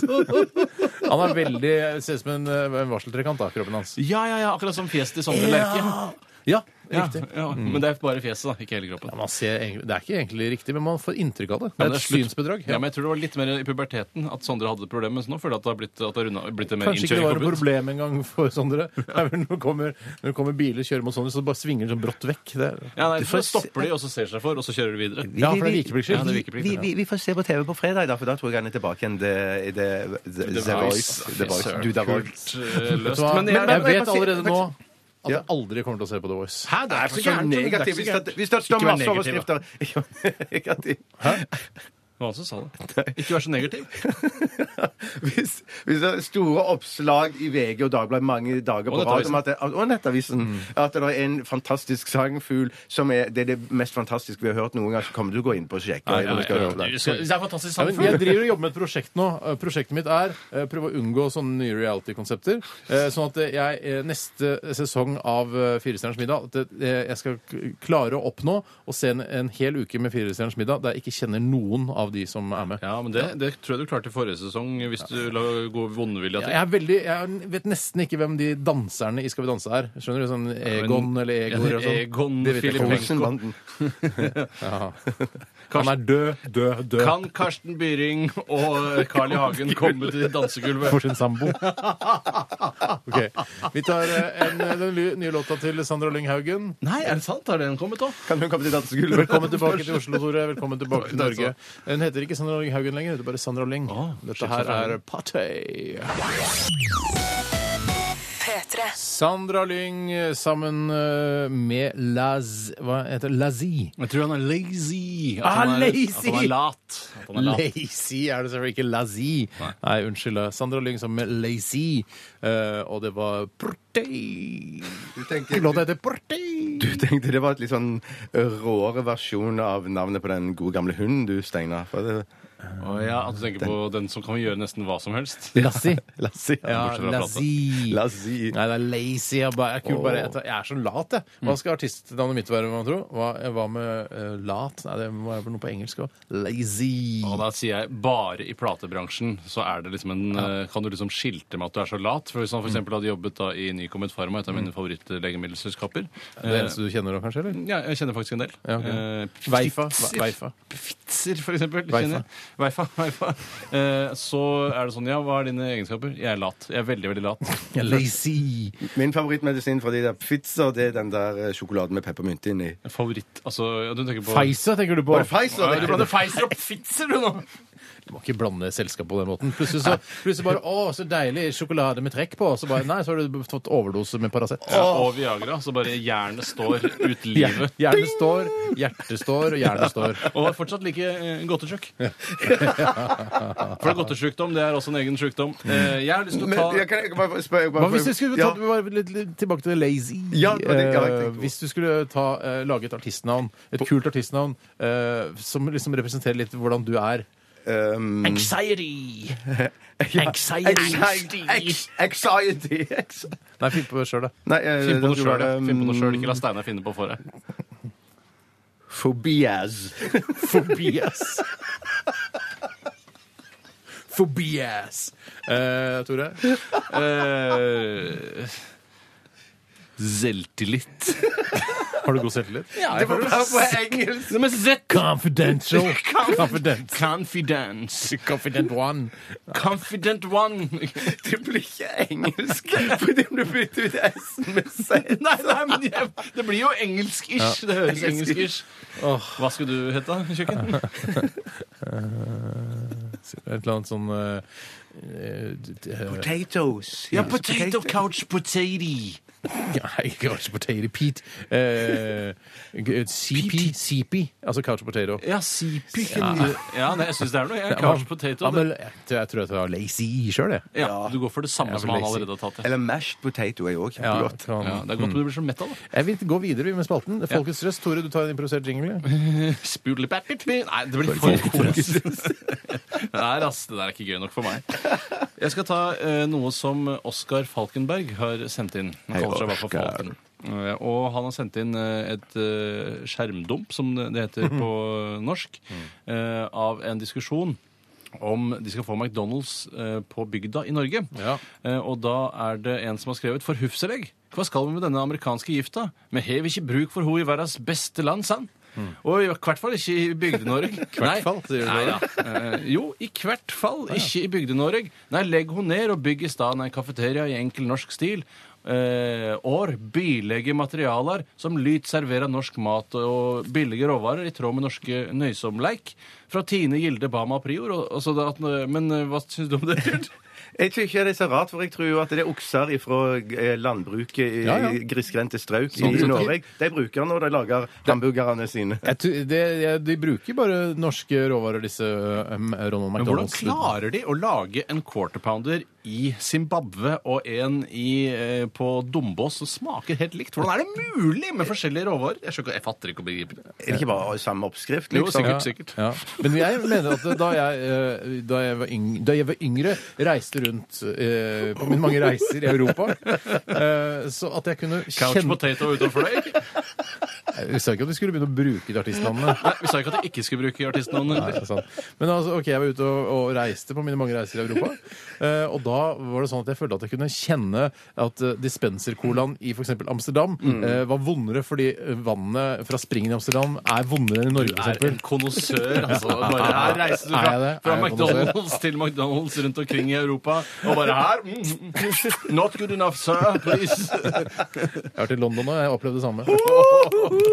Han er veldig, ser ut som en, eh, en varseltrekant, da, kroppen hans.
Ja, ja, ja, akkurat som fjeset i Sondre Lerche.
Ja,
Ja, ja,
Mm.
Men det er bare fjeset, da, ikke hele kroppen.
Ja, man ser, egentlig- det er ikke egentlig riktig, men man får inntrykk av det. Det
Ja,
er et
slutt-
synsbedrag.
Ja, men jeg tror det var litt mer i puberteten at Sondre hadde det problemet. Så nå føler jeg at det har blitt, at det har rundet- blitt et mer
Kanskje ikke det var et
innkjøringsforbud.
problem en gang for Sondre. Det er vel Når det kommer, når det kommer biler kjører mot Sondre, så bare svinger den sånn brått vekk. Det er,
Ja, nei, så stopper de, og så ser seg for, og så kjører de videre.
Ja, for det er vikeplikter.
Ja, det er
Vi,
vikeplikter.
vi, vi får se på TV på fredag, da, for da tror jeg han er tilbake igjen. The, the, the, the,
Voice.
Voice. The Voice.
Søren,
Du, The Voice.
kult, eh,
Vet
løst.
du hva?
Men
men jeg,
jeg, men,
vet
faktisk-
allerede nå at
Ja.
jeg aldri kommer til å se på The Voice.
Hæ, det er
Nei,
ikke så
så
gærent. Det er
negativ.
ikke
Hvis
så
det,
gærent.
hvis det står
Ikke vær
masse
negativ, da.
overskrifter Ikke vær negativ.
Hva var det som sa det? Ikke vær så negativ.
Hvis, hvis det er store oppslag i VG og Dagbladet mange dager på
Og
rad om
Nettavisen.
at det, og Nettavisen
Mm.
at det er en fantastisk sangfugl som er det, er det mest fantastiske vi har hørt noen gang, så kommer du til å gå inn på og sjekke.
Nei, nei,
om du skal
nei,
høre
nei,
det.
du skal- Det er fantastisk
Ja, men jeg
samfunn.
driver og jobber med et prosjekt nå. Eh, Prosjektet mitt er eh, prøve å unngå sånne nye reality-konsepter. eh, Sånn at eh, jeg eh, neste sesong av eh, Firestjerners middag at eh, jeg skal k- klare å oppnå å se en, en hel uke med Firestjerners middag der jeg ikke kjenner noen av de som er med.
Ja, men det, det tror jeg du klarte i forrige sesong, hvis du la gå vondvilja
Jeg,
til.
er veldig, jeg vet nesten ikke hvem de danserne i Skal vi danse er. Skjønner du? Sånn Egon eller Egor og sånn.
Egon
Det vet jeg ikke.
Filipenko.
Olsenbanden.
Han er død, død, død.
Kan Karsten Byring og Carl I. Hagen komme til dansegulvet?
For sin sambo. Ok. Vi tar eh, en, den ly- nye låta til Sandra Lyng Haugen.
Nei, er det sant? Har den kommet òg?
Kan hun komme til dansegulvet?
Velkommen tilbake til Oslo, Tore. Velkommen tilbake til
Takk skal du
Norge. Hun heter ikke Sandra Lyng Haugen lenger, hun heter bare Sandra Lyng.
Å,
Dette
shit,
her
så
er
feil.
Partey.
P3.
Sandra Lyng eh, sammen eh, med Laz... Hva heter det? Lazy.
Jeg tror han er lazy. At
Ah,
han er,
lazy!
At han er lat. At han er lat.
Lazy er det selvfølgelig ikke Lazy. Nei, unnskyld. eh, Sandra Lyng sammen med Lazy. Eh, og det var Partey.
Du tenker,
Låta heter Partey.
du tenkte det var et litt sånn råere versjon av navnet på den gode gamle hunden du, Steinar. For det-
Å ja, at du tenker på den som kan gjøre nesten hva som helst?
Lassie.
Lassie.
Ja,
bortsett fra
Lazy.
Lassie.
Nei, det er lazy. Jeg, bare, jeg, er kul,
Åh.
bare, jeg, jeg er så lat, jeg. Hva skal artistnavnet mitt være, man tro? Hva, hva med eh, lat? Nei, det må være noe på engelsk òg. Lazy.
Og da sier jeg bare i platebransjen så er det liksom en, eh, kan du liksom skilte med at du er så lat. For Hvis han for eksempel hadde jobbet da i Nycomed Pharma, et av mine favorittlegemiddelselskaper
Det
eh,
eneste du kjenner da, kanskje? eller?
ja, Jeg kjenner faktisk en del.
Ja, ok.
Eh,
Veifa.
Pfitzer.
Veifa.
Pfitzer, for eksempel.
Veifa.
kjenner jeg. Veifa. Veifa. Eh, så er det sånn, ja, hva er dine egenskaper? Jeg er lat. Jeg er veldig, veldig lat.
Lazy.
Min favorittmedisin fra de der Pfizer, det er den der eh, sjokoladen med peppermynte inni.
Favoritt Altså, ja, du tenker på
Pfizer, tenker du på?
Var det Pfizer?
Ja,
tenkte
du
jeg på?
blander Pfizer og Pfitzer, du nå!
Du må ikke blande selskap på den måten. Plutselig så, plutselig bare Å, så deilig sjokolade med trekk på. Og så bare Nei, så har du fått overdose med Paracet.
Ja, og Viagra. Så bare jernet står ut livet.
Hjernen står, hjertet står, og hjernen står.
Og er fortsatt like eh, godtesjuk. For godtesjukdom det er også en egen sjukdom. Eh, jeg har lyst til å
Men,
ta
jeg kan jeg kan bare spørre
Hva hvis du skulle ta,
ja.
bare litt, litt tilbake til det lazy
Ja, det var det jeg
Eh,
tenkte på.
Hvis du skulle ta, eh, lage et artistnavn, et kult artistnavn, eh, som liksom representerer litt hvordan du er
Um,
Anxiety!
Anxiety. Ex- Anxiety. Ex-
Nei, finn på det sjøl, da.
Nei, eh,
Finn
det
på noe
skulle
sjøl.
være,
Finn på noe selv. Ikke la
mm,
Steinar finne på for deg.
Phobias.
Phobias. Phobias. Eh, Tore? Eh,
Uh, Selvtillit.
Har du god selvtillit?
Ah,
Det var bare på engelsk.
Nei, men zett-
Confidential. Confident.
Confidence.
Confident one.
Confident one.
Det blir ikke engelsk fordi du bytter ut S-en med Z.
Nei, nei, men jeg, det blir jo engelsk-ish. Det høres engelsk-ish. Hva skulle du hete, da, kjøkken?
Et eller annet sånn eh, eh, d- eh,
Potatoes.
Ja, potato couch potato.
Nei, couch potato Pete. Eh, g- CP, CP, altså couch potato.
Ja, sipiken. Ja, ja nei, jeg syns det er noe. Jeg,
Ja,
Eh, couch
man-
potato.
Ja, men, jeg, tror- jeg tror jeg tar lazy E sjøl, jeg.
det- ja, du går for det samme
Jeg
som
vil
han
si-
allerede har tatt. Ja.
Eller mashed potato er jo også
Ja,
kjempegodt.
kan-
Ja, det er godt du blir så mett av det.
Jeg vil gå videre vi, med spalten. Folkets røst. Tore, du tar en improvisert jingle.
Nei, det blir for kos. Nei, ass, det der er ikke gøy nok for meg. Jeg skal ta eh, noe som Oskar Falkenberg har sendt inn. Han
Hei,
kaller seg i hvert fall
Oscar.
Falken. Eh, Og han har sendt inn eh, et Mm. eh, skjermdump, som det det heter på norsk, eh, av en diskusjon om de skal få McDonald's eh, på bygda i Norge.
Ja.
Eh, og da er det en som har skrevet for Hufselegg. Hva skal vi med denne amerikanske gifta? Vi har ikke bruk for henne i verdens beste land, sann. Og i hvert fall ikke i Bygde-Norge. Nei.
fall, sier du
Nei,
da.
ja. Eh, jo, i hvert fall ikke i Bygde-Norge. Nei, legg henne ned og bygg i stedet en kafeteria i enkel norsk stil. Eh, år bilegge materialer som lyt serverer norsk mat og billige råvarer i tråd med norske nøysomleik. Fra Tine Gilde Bama Prior. Og, og så da at, men eh, hva syns du om det? Bjørn?
Jeg tror ikke det er så rart, for jeg tror jo at det er okser fra landbruket i
Ja, ja.
grisgrendte strøk
Sånn
i
sett.
Norge. De bruker den når de lager hamburgerne sine.
Jeg tror- det, jeg, de bruker bare norske råvarer, disse um, Ronald
Men hvordan
McDonald's.
klarer de å lage en quarter pounder i Zimbabwe og en i, eh, på Dombås som smaker helt likt? Hvordan er det mulig med forskjellige råvarer? Jeg, skjønner ikke- jeg fatter ikke å begripe det.
Er det ikke bare samme oppskrift?
Jo,
Liksom?
sikkert, sikkert.
Ja. Men jeg mener at da jeg, eh, da jeg, var, yngre, da jeg var yngre, reiste rundt eh, på mine mange reiser i Europa, eh, så at jeg kunne
Couch
kjenne
potato ute og fløy.
Jeg sa ikke at vi skulle begynne å bruke de artistnavnene.
Nei, Vi sa ikke at jeg ikke skulle bruke artistnavnet.
Nei, det er sant. Men altså, ok, jeg var ute og, og reiste på mine mange reiser i Europa. eh, og da var det sånn at jeg følte at jeg kunne kjenne at uh, dispenser-colaen i f.eks. Amsterdam eh, var vondere fordi vannet fra springen i Amsterdam er vondere enn i Norge,
Du er en
f.eks.
konnoissør, altså. Bare her reiser du
Er jeg
fra,
det?
fra
Er jeg
McDonald's til McDonald's rundt omkring i Europa, og bare her mm, mm, Not good enough, sir. Please.
Jeg har vært i London og jeg opplevde det samme.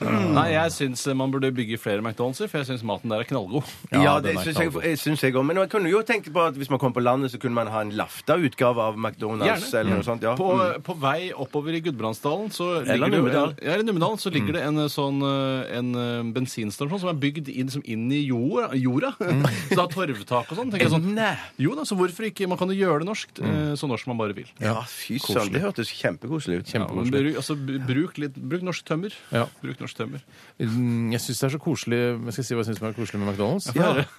Nei, jeg syns eh, man burde bygge flere McDonald'ser, for jeg syns maten der er knallgod.
Ja,
den
det
er
syns jeg,
knallgod.
jeg, synes jeg også. Men man kunne jo tenke på at hvis man kom på landet, så kunne man ha en lafta utgave av McDonald's
Gjerne.
eller noe Mm. sånt. Ja.
På, på vei oppover i Gudbrandsdalen så
Eller
ligger det-
Numedal.
Ja, eller Numedal så ligger det en eh, sånn eh, en eh, bensinstasjon som er bygd inn, som inn i jorda. jorda. Så det har torvtak og sånn. tenker jeg sånn.
Nei.
Jo da, så hvorfor ikke? Man kan jo gjøre det norskt eh, så norsk man bare vil.
Ja, fy søren. Det hørtes kjempekoselig ut.
Ja, men bruk, altså, b- bruk, litt, bruk norsk tømmer.
Ja.
Bruk norsk tømmer.
Mm, Jeg syns det er så koselig Jeg skal si hva jeg synes er koselig med McDonald's.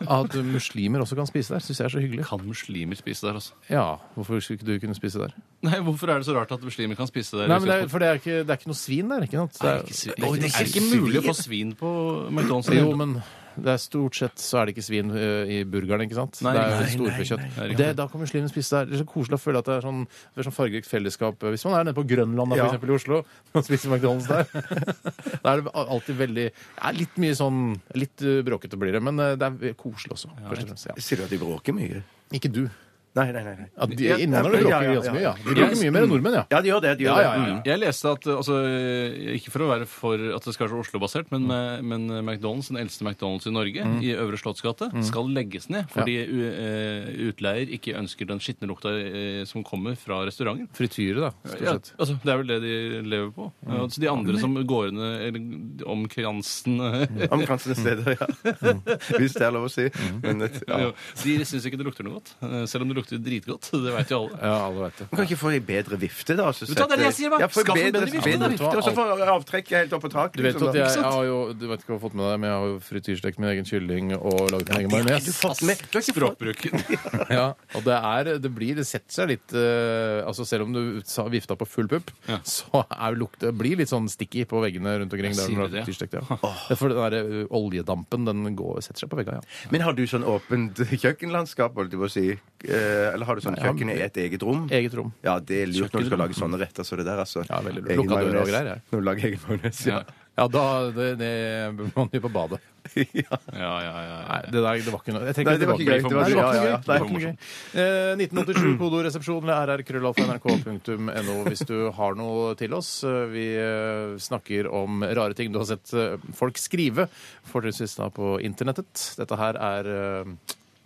At muslimer også kan spise der. Syns jeg er så hyggelig.
Kan muslimer spise der, altså?
Ja, Hvorfor skulle ikke du kunne spise der?
Nei, Hvorfor er det så rart at muslimer kan spise der?
Nei, men det er, For det er ikke, det er ikke noe svin der, ikke sant? Det er,
sånn. er, det ikke, er det ikke mulig å få svin på McDonald's?
jo, men det er stort sett så er det ikke svin ø, i burgeren, ikke sant?
Nei,
det er
nei,
jo storfekjøtt.
nei.
Og det- Da kan muslimene spise der. Det er så koselig å føle at det er sånn, det er sånn fargerikt fellesskap. Hvis man er nede på Grønland, da, for
Ja.
eksempel i Oslo, og spiser McDonald's der, da er det alltid veldig det er Litt mye sånn Litt ø, bråkete blir det, men ø, det er koselig også, først og fremst. Ja.
Sier du at de bråker mye?
Ikke du.
Nei, nei, nei. nei.
Ja, de, innvandrere
ja,
bråker
ja, ja.
ganske mye. Ja. De bråker mye mer enn nordmenn, ja.
Ja, de gjør det. De gjør
Ja, ja, ja,
det.
ja.
Mm.
Jeg leste at eh, altså, eh, Ikke for å være for at det skal være så Oslo-basert, men,
Mm.
eh, men eh, McDonald's, den eldste McDonald's i Norge, i Øvre Slottsgate,
Mm.
skal legges ned fordi u- eh, utleier ikke ønsker den skitne lukta eh, som kommer fra restauranten.
Frityre, da, stort
Ja,
sett. Mm.
altså, det er vel det de lever på. Eh, altså, de andre som går ned eller omkransende
Om kransene Mm. steder, ja. Hvis det er lov å si. Men, et- ja.
ja. De syns ikke det lukter noe godt. eh, Selv om det lukter dritgodt. Det vet jo alle.
Ja, alle vet det.
Man kan ikke få ei bedre vifte, da? Så
Vet du hva, det er det jeg sier, hva?
Ja, få
Skaff en
bedre,
bedre vifte,
da.
bedre vifte, Og så få avtrekket helt opp på taket.
Du vet
liksom,
at
da.
jeg, jeg har jo, du vet ikke hva jeg har fått med deg, men jeg har jo frityrstekt min egen kylling og laget min egen
Har du
majones.
fått med- du har ikke fått-
Språkbruken.
Ja, og det, er, det blir Det setter seg litt eh, Altså Selv om du sa- vifta på full pupp, så er lukta det blir litt sånn sticky på veggene rundt omkring. Der
Sier
den har
du det?
frityrstekt, ja. Det er for den der ø, oljedampen, den går, setter seg på veggene. Ja.
Men har du sånn åpent kjøkkenlandskap, holdt jeg på å si? Eh, Eller har du sånn
Nei, jeg har-
kjøkken i et eget rom?
Eget rom.
Ja, det er lurt når du skal lage sånne retter som det der, altså.
Ja, veldig lurt.
Egen
Lukka dører og
majones.
greier, jeg.
Når du lager egen majones, ja.
Ja.
Ja, da det, det bør man gjøre på badet.
Ja, ja, ja, ja.
Nei, det der det var ikke noe Jeg trekker
Nei, det var ikke gøy. Det
tilbake.
var,
Nei, det var
ja,
ikke
ja,
gøy.
ja.
Det var ikke noe gøy. Eh, 1987, kodoresepsjon eller rrkrøllalfa.nrk.no hvis du har noe til oss. Eh, Vi eh, snakker om rare ting du har sett eh, folk skrive, fortrinnsvis da på internettet. Dette her er eh,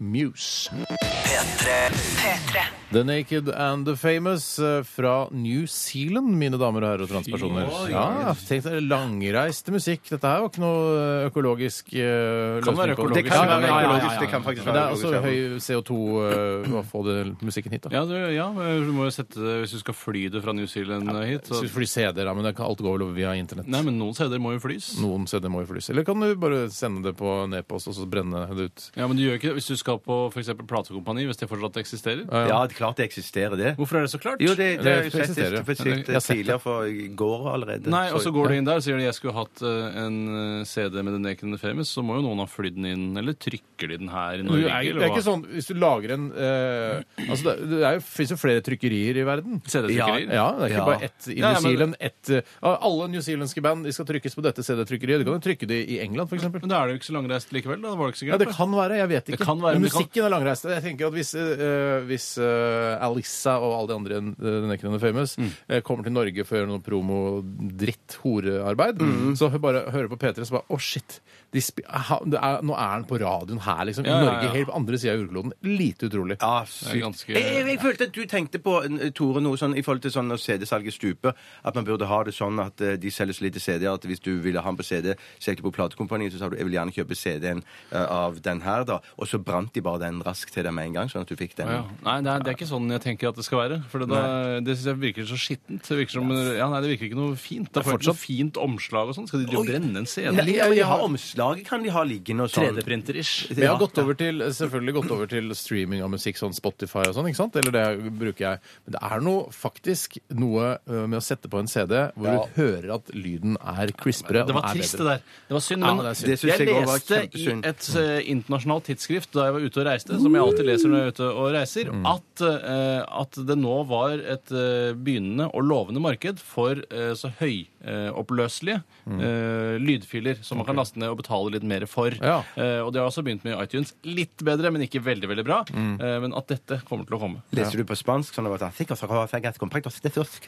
Muse.
P3.
P3.
The Naked and the Famous eh, fra New Zealand, mine damer og herrer og transpersoner.
Fy,
Ja, tenk deg langreist musikk. Dette her var ikke noe eh, økologisk eh,
Kan være
løsning på-
økologisk.
Det kan
Ja, ja,
være
ja, ja, ja,
økologisk,
ja.
det kan faktisk være
Men Det er også
økologisk,
høy CO2 eh, å få det, musikken hit, da.
Ja, du, ja, du må jo sette det hvis du skal fly det fra New Zealand eh, hit. Så.
Skal vi fly CD-er, da, men det kan alt går vel over via internett.
Nei, men noen steder må jo flys.
Noen CD-er må jo flys. Eller kan du bare sende det på en e-post og så brenne det ut?
Ja, men du gjør ikke det. Hvis du skal på f.eks. platekompani, hvis det fortsatt eksisterer?
Ja, det er klart det eksisterer, det.
Hvorfor er det så klart?
Jo, det, det har jeg
Det
jo sett
eksisterer, ja.
for sikt
Jeg har sett det.
tidligere, for i går allerede.
Nei, og så går
det
du inn der og sier de jeg skulle hatt eh, en eh, CD med The Naked and the Famous, så må jo noen ha flydd den inn, eller trykker de den her i
Det
Norge?
er,
eller
det er
hva?
ikke sånn hvis du lager en eh, altså Det, det er jo- finnes jo flere trykkerier i verden.
CD-trykkerier?
Ja, det er ikke
Ja.
bare ett i
Ja, ja,
New
men-
Zealand. Ett, eh, av alle newzealandske band de skal trykkes på dette CD-trykkeriet. Du kan jo trykke det i England, for eksempel
Men da er det jo ikke så langreist likevel. da, det var det ikke så
Ja, det
gærent. da.
kan være. Jeg vet ikke.
kan være,
men
men det kan-
musikken er langreist. Jeg tenker at Hvis, eh, hvis eh, Alissa og alle de andre i The Naked and the Famous
Mm.
eh, kommer til Norge for å gjøre noe promo-dritt-horearbeid,
Mm.
så hø- bare hører på P3 og så bare Å, shit! De spi ha, det er, nå er han på radioen her, liksom. I
Ja, ja, ja.
Norge, helt på andre sida av jordkloden. Lite utrolig.
ja,
Det er
sykt.
ganske...
Jeg, jeg, jeg følte at du tenkte på n- Tore, noe sånn, i forhold til sånn når CD-salget stuper, at man burde ha det sånn at eh, de selger så lite CD-er at hvis du ville ha den på CD, søkte på platekompaniet, så sa du jeg vil gjerne kjøpe CD-en eh, av den her, da. Og så brant de bare den raskt til deg med en gang, sånn at du fikk den.
Ja. Nei, det er, det er ikke sånn jeg tenker at det skal være. For det, da, det synes jeg virker så skittent. Det virker, som, ja, nei, det virker ikke noe fint. Det er fortsatt fint omslag og sånn. Skal de drive og brenne en CD?
Nei, ja, men de har omslaget kan de ha liggende og sånn.
3D-printer-ish.
Vi har gått over til, selvfølgelig gått over til streaming av musikk, sånn Spotify og sånn, ikke sant? Eller det bruker jeg. Men det er noe, faktisk noe ø, med å sette på en CD hvor du hører at lyden er crispere. og
Det var
den er
trist, det
bedre.
der. Det var synd,
Ja,
men
det er synd.
Det synes jeg også var
leste i
kjempesynd.
et eh, internasjonalt tidsskrift da jeg var ute og reiste, som jeg alltid leser når jeg er ute og reiser, at, eh, at det nå var et eh, begynnende og lovende marked for eh, så høyoppløselige lydfiler som man kan laste ned og betale litt mer for.
Ja.
Eh, og det har også begynt med iTunes. Litt bedre, men ikke veldig, veldig bra. Eh, men at dette kommer til å komme.
Leser du på spansk sånn at det var sikkert så har jeg et kompakt og støtt oss.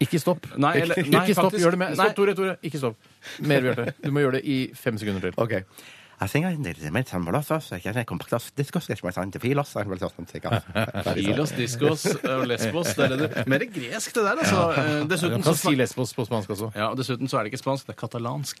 Ikke stopp.
Nei, eller-
ikke
nei,
stopp.
faktisk-
Gjør det med.
nei.
Stopp, Tore. Tore. Ikke stopp. Mer, Bjarte. Du må gjøre det i fem sekunder til.
Ok. Jeg synger en del med samboerlåser, jeg kjenner kompakt diskos, jeg kjenner til filos, jeg kjenner til sånn, sikkert.
Filos, diskos og lesbos. Det er det du Mer gresk, det der, altså. Eh,
Du
Dessuten så
kan si
snak-
lesbos på spansk også.
ja, og dessuten så er det ikke spansk, det er katalansk.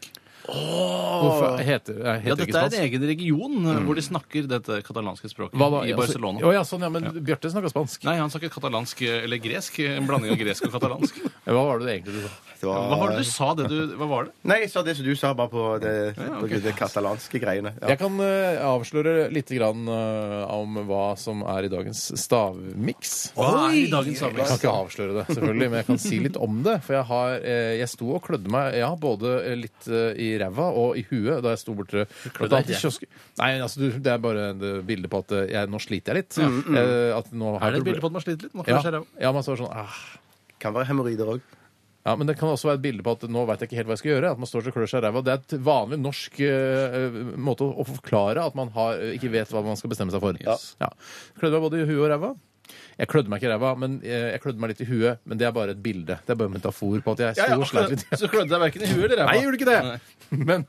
Hvorfor heter, nei,
Ja,
heter det
dette
ikke
er en
spansk?
egen region eh, hvor de snakker dette katalanske språket.
Hva da?
I Barcelona.
Altså, å ja, sånn, ja, men Bjarte snakker spansk.
Nei, han snakket katalansk eh, eller gresk. En blanding av gresk og katalansk.
Hva var det egentlig du sa?
Hva var det du sa? det du, Hva var det?
Nei, jeg sa det som du sa, bare på det, på det katalanske greiene. Ja.
Jeg kan eh, avsløre litt grann, eh, om hva som er i dagens stavmiks.
Hva er i dagens
Jeg kan
sammenheng?
ikke avsløre det, selvfølgelig, men jeg kan si litt om det. For jeg, har, eh, jeg sto og klødde meg ja, både eh, litt eh, i ræva og i huet da jeg sto borte blant annet i
deg?
kiosken. Nei, altså, du, det er bare et bilde på at eh, jeg, nå sliter jeg litt. Eh, at nå har
Mm, Er det
jeg
et bilde
problem-
på at man sliter litt? Nå
Ja,
kanskje det er-
ja, man står sånn ah.
Kan være hemoroider òg.
Ja, men det kan også være et bilde på at nå veit jeg ikke helt hva jeg skal gjøre. At man står og klør seg i ræva. Det er et vanlig norsk eh, måte å, å forklare at man har, ikke vet hva man skal bestemme seg for. Ja. Klødde meg både i huet og ræva. Jeg klødde meg ikke i ræva, men eh, jeg klødde meg litt i huet. Men det er bare et bilde. Det er bare en metafor på at jeg sto og sleit litt.
Så klødde jeg verken i huet eller
Nei, jeg
ræva.
gjorde ikke det! Men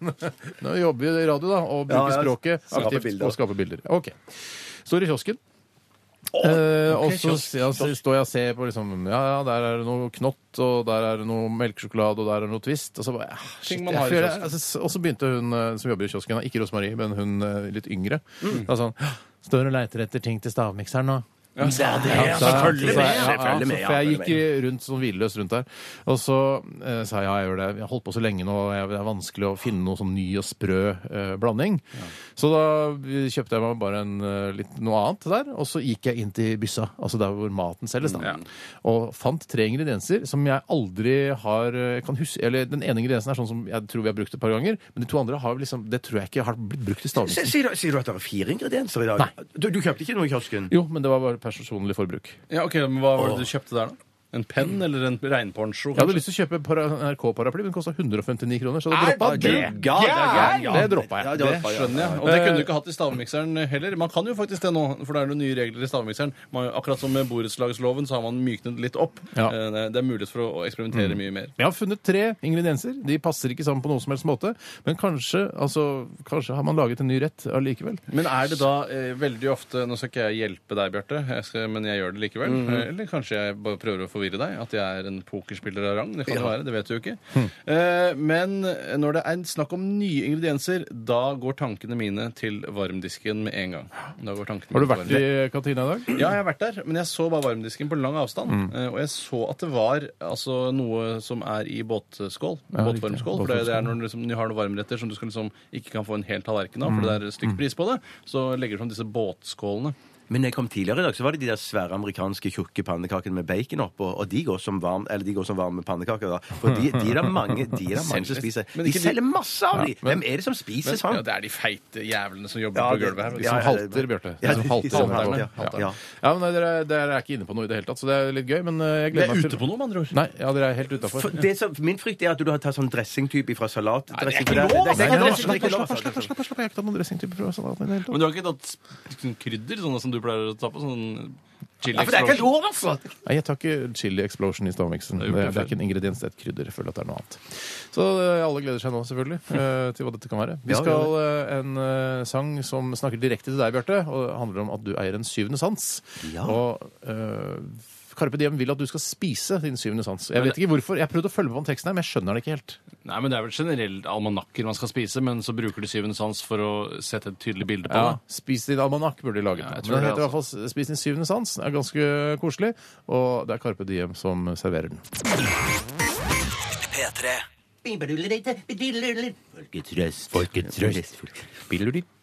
nå jobber vi i radio, da, og
Ja,
bruker
ja,
språket
skape
aktivt
bilder.
og skaper bilder. Ok. Står i kiosken. Eh, og så
kiosk,
ser jeg- står jeg og ser på liksom, ja, ja, der er det noe knott, og der er det noe melkesjokolade, og der er det noe Twist. Og så bare, ja, shit,
Ting
jeg
man har i
føler-
kiosken.
altså, s- Og så begynte hun eh, som jobber i kiosken, da, ikke Rosemarie, men hun eh, litt yngre,
Mm.
da sånn, «Hå, står og leiter etter ting til stavmikseren nå. Ja, så- så-
selvfølgelig
så-
med,
ja,
selvfølgelig med,
ja,
ja,
For jeg
følger
gikk rundt sånn hvilløs rundt der. Og så eh, sa jeg ja, jeg gjør det. Jeg har holdt på så lenge nå, og jeg, det er vanskelig å finne noe sånn ny og sprø eh, blanding. Så da kjøpte jeg meg bare en, eh, litt noe annet der, og så gikk jeg inn til byssa, altså der hvor maten selges, da. Og fant tre ingredienser som jeg aldri har eh, kan huske, eller Den ene ingrediensen er sånn som jeg tror vi har brukt et par ganger, men de to andre har liksom, det tror jeg ikke har blitt brukt i stavmiksen.
Sier du, sier du at det er fire ingredienser i dag?
Nei.
Du, du kjøpte ikke noe i kiosken?
Jo, men det var bare personlig forbruk.
Ja, ok, men Hva var det du kjøpte der, da? En penn eller en regnponcho?
Jeg hadde lyst til å kjøpe para- NRK-paraply, men den kosta 159 kroner, så det droppa
Du
det.
gal,
Det droppa jeg.
Ja,
Det
droppa jeg.
skjønner jeg. Og det kunne du ikke hatt i stavmikseren heller. Man kan jo faktisk det nå, for det er noen nye regler i stavmikseren. Man, akkurat som med borettslagsloven, så har man myknet litt opp.
Ja.
Eh, Det det er mulighet for å å eksperimentere mye mer.
Jeg har funnet tre ingredienser. De passer ikke sammen på noen som helst måte. Men kanskje, altså, kanskje har man laget en ny rett allikevel.
Men er det da Mm. eh, veldig ofte Nå skal ikke jeg hjelpe deg, Bjarte, jeg skal- men jeg gjør det likevel. Eh, Eller kanskje jeg bare prøver å forvirre deg at jeg er en pokerspiller av rang. Det kan det være, det vet du jo ikke. Eh, men når det er snakk om nye ingredienser, da går tankene mine til varmdisken med en gang. Da går tankene
Har du
mine til
vært i kantina i dag?
ja, jeg har vært der, men jeg så bare varmdisken på lang avstand. eh, Og jeg så at det var altså, noe som er i båtskål. båtvarmskål. For det, det er når du, liksom, du har noen varmretter som du skal, liksom, ikke kan få en hel tallerken av, for det er stygg pris på det, så legger du sånn disse båtskålene.
Men når jeg kom tidligere i dag, så var det de der svære amerikanske tjukke pannekakene med bacon oppå, og de går som varm, eller de går som varme pannekaker. da. For de, de er det mange, de er det mange som spiser.
Men
De
ikke de-
selger masse av de!
men-
Hvem er det som spiser
Men,
sånn?
ja, det er de feite jævlene som jobber
Ja,
på
det-
gulvet her.
De
ja, ja,
som
det-
halter, Bjarte.
Ja,
De som
de-
halter.
de som
der
halter,
borte.
ja.
Halter.
Ja.
Ja, men nei, dere, er- dere er ikke inne på noe i det hele tatt, så det er litt gøy, men eh, jeg
Vi er
gleder meg til
ute på noe, med andre ord.
Nei, ja, dere er helt
For
utafor.
det som, min frykt er at du har tatt sånn dressingtype fra salat.
Nei, det er
dressing-
ikke lov,
Det er ikke
altså.
lov, altså. Det er ikke lov, altså.
Slapp av, slapp av. Jeg har ikke tatt noen dressingtype fra salaten i det hele tatt.
Men du har ikke tatt sånn krydder, sånne som du pleier å ta på? Sånn chili
Ja, for det er ikke
explosion?
lov, altså!
Nei, jeg tar ikke chili explosion i stavmiksen.
Det
Det
er jo
er,
ikke
det er ikke en ingrediens, det er et krydder. Jeg føler at det er noe annet. Så eh, alle gleder seg nå, selvfølgelig, eh, til hva dette kan være. Vi
Ja, ja,
skal eh, en eh, sang som snakker direkte til deg, Bjarte, og det handler om at du eier en syvende sans.
Ja.
Og eh, Carpe Diem vil at du skal spise din syvende sans. Jeg vet ikke hvorfor. Jeg prøvde å følge med på teksten her, men jeg skjønner den ikke helt.
Nei, men Det er vel generelt almanakker man skal spise, men så bruker de syvende sans for å sette et tydelig bilde på
Ja,
det.
Spis din almanakk burde de laget.
Ja, jeg tror
men den heter
det, altså.
i hvert fall Spis din syvende sans. Den er ganske koselig, og det er Carpe Diem som serverer den.
P3.
Folketrøst. Folketrøst.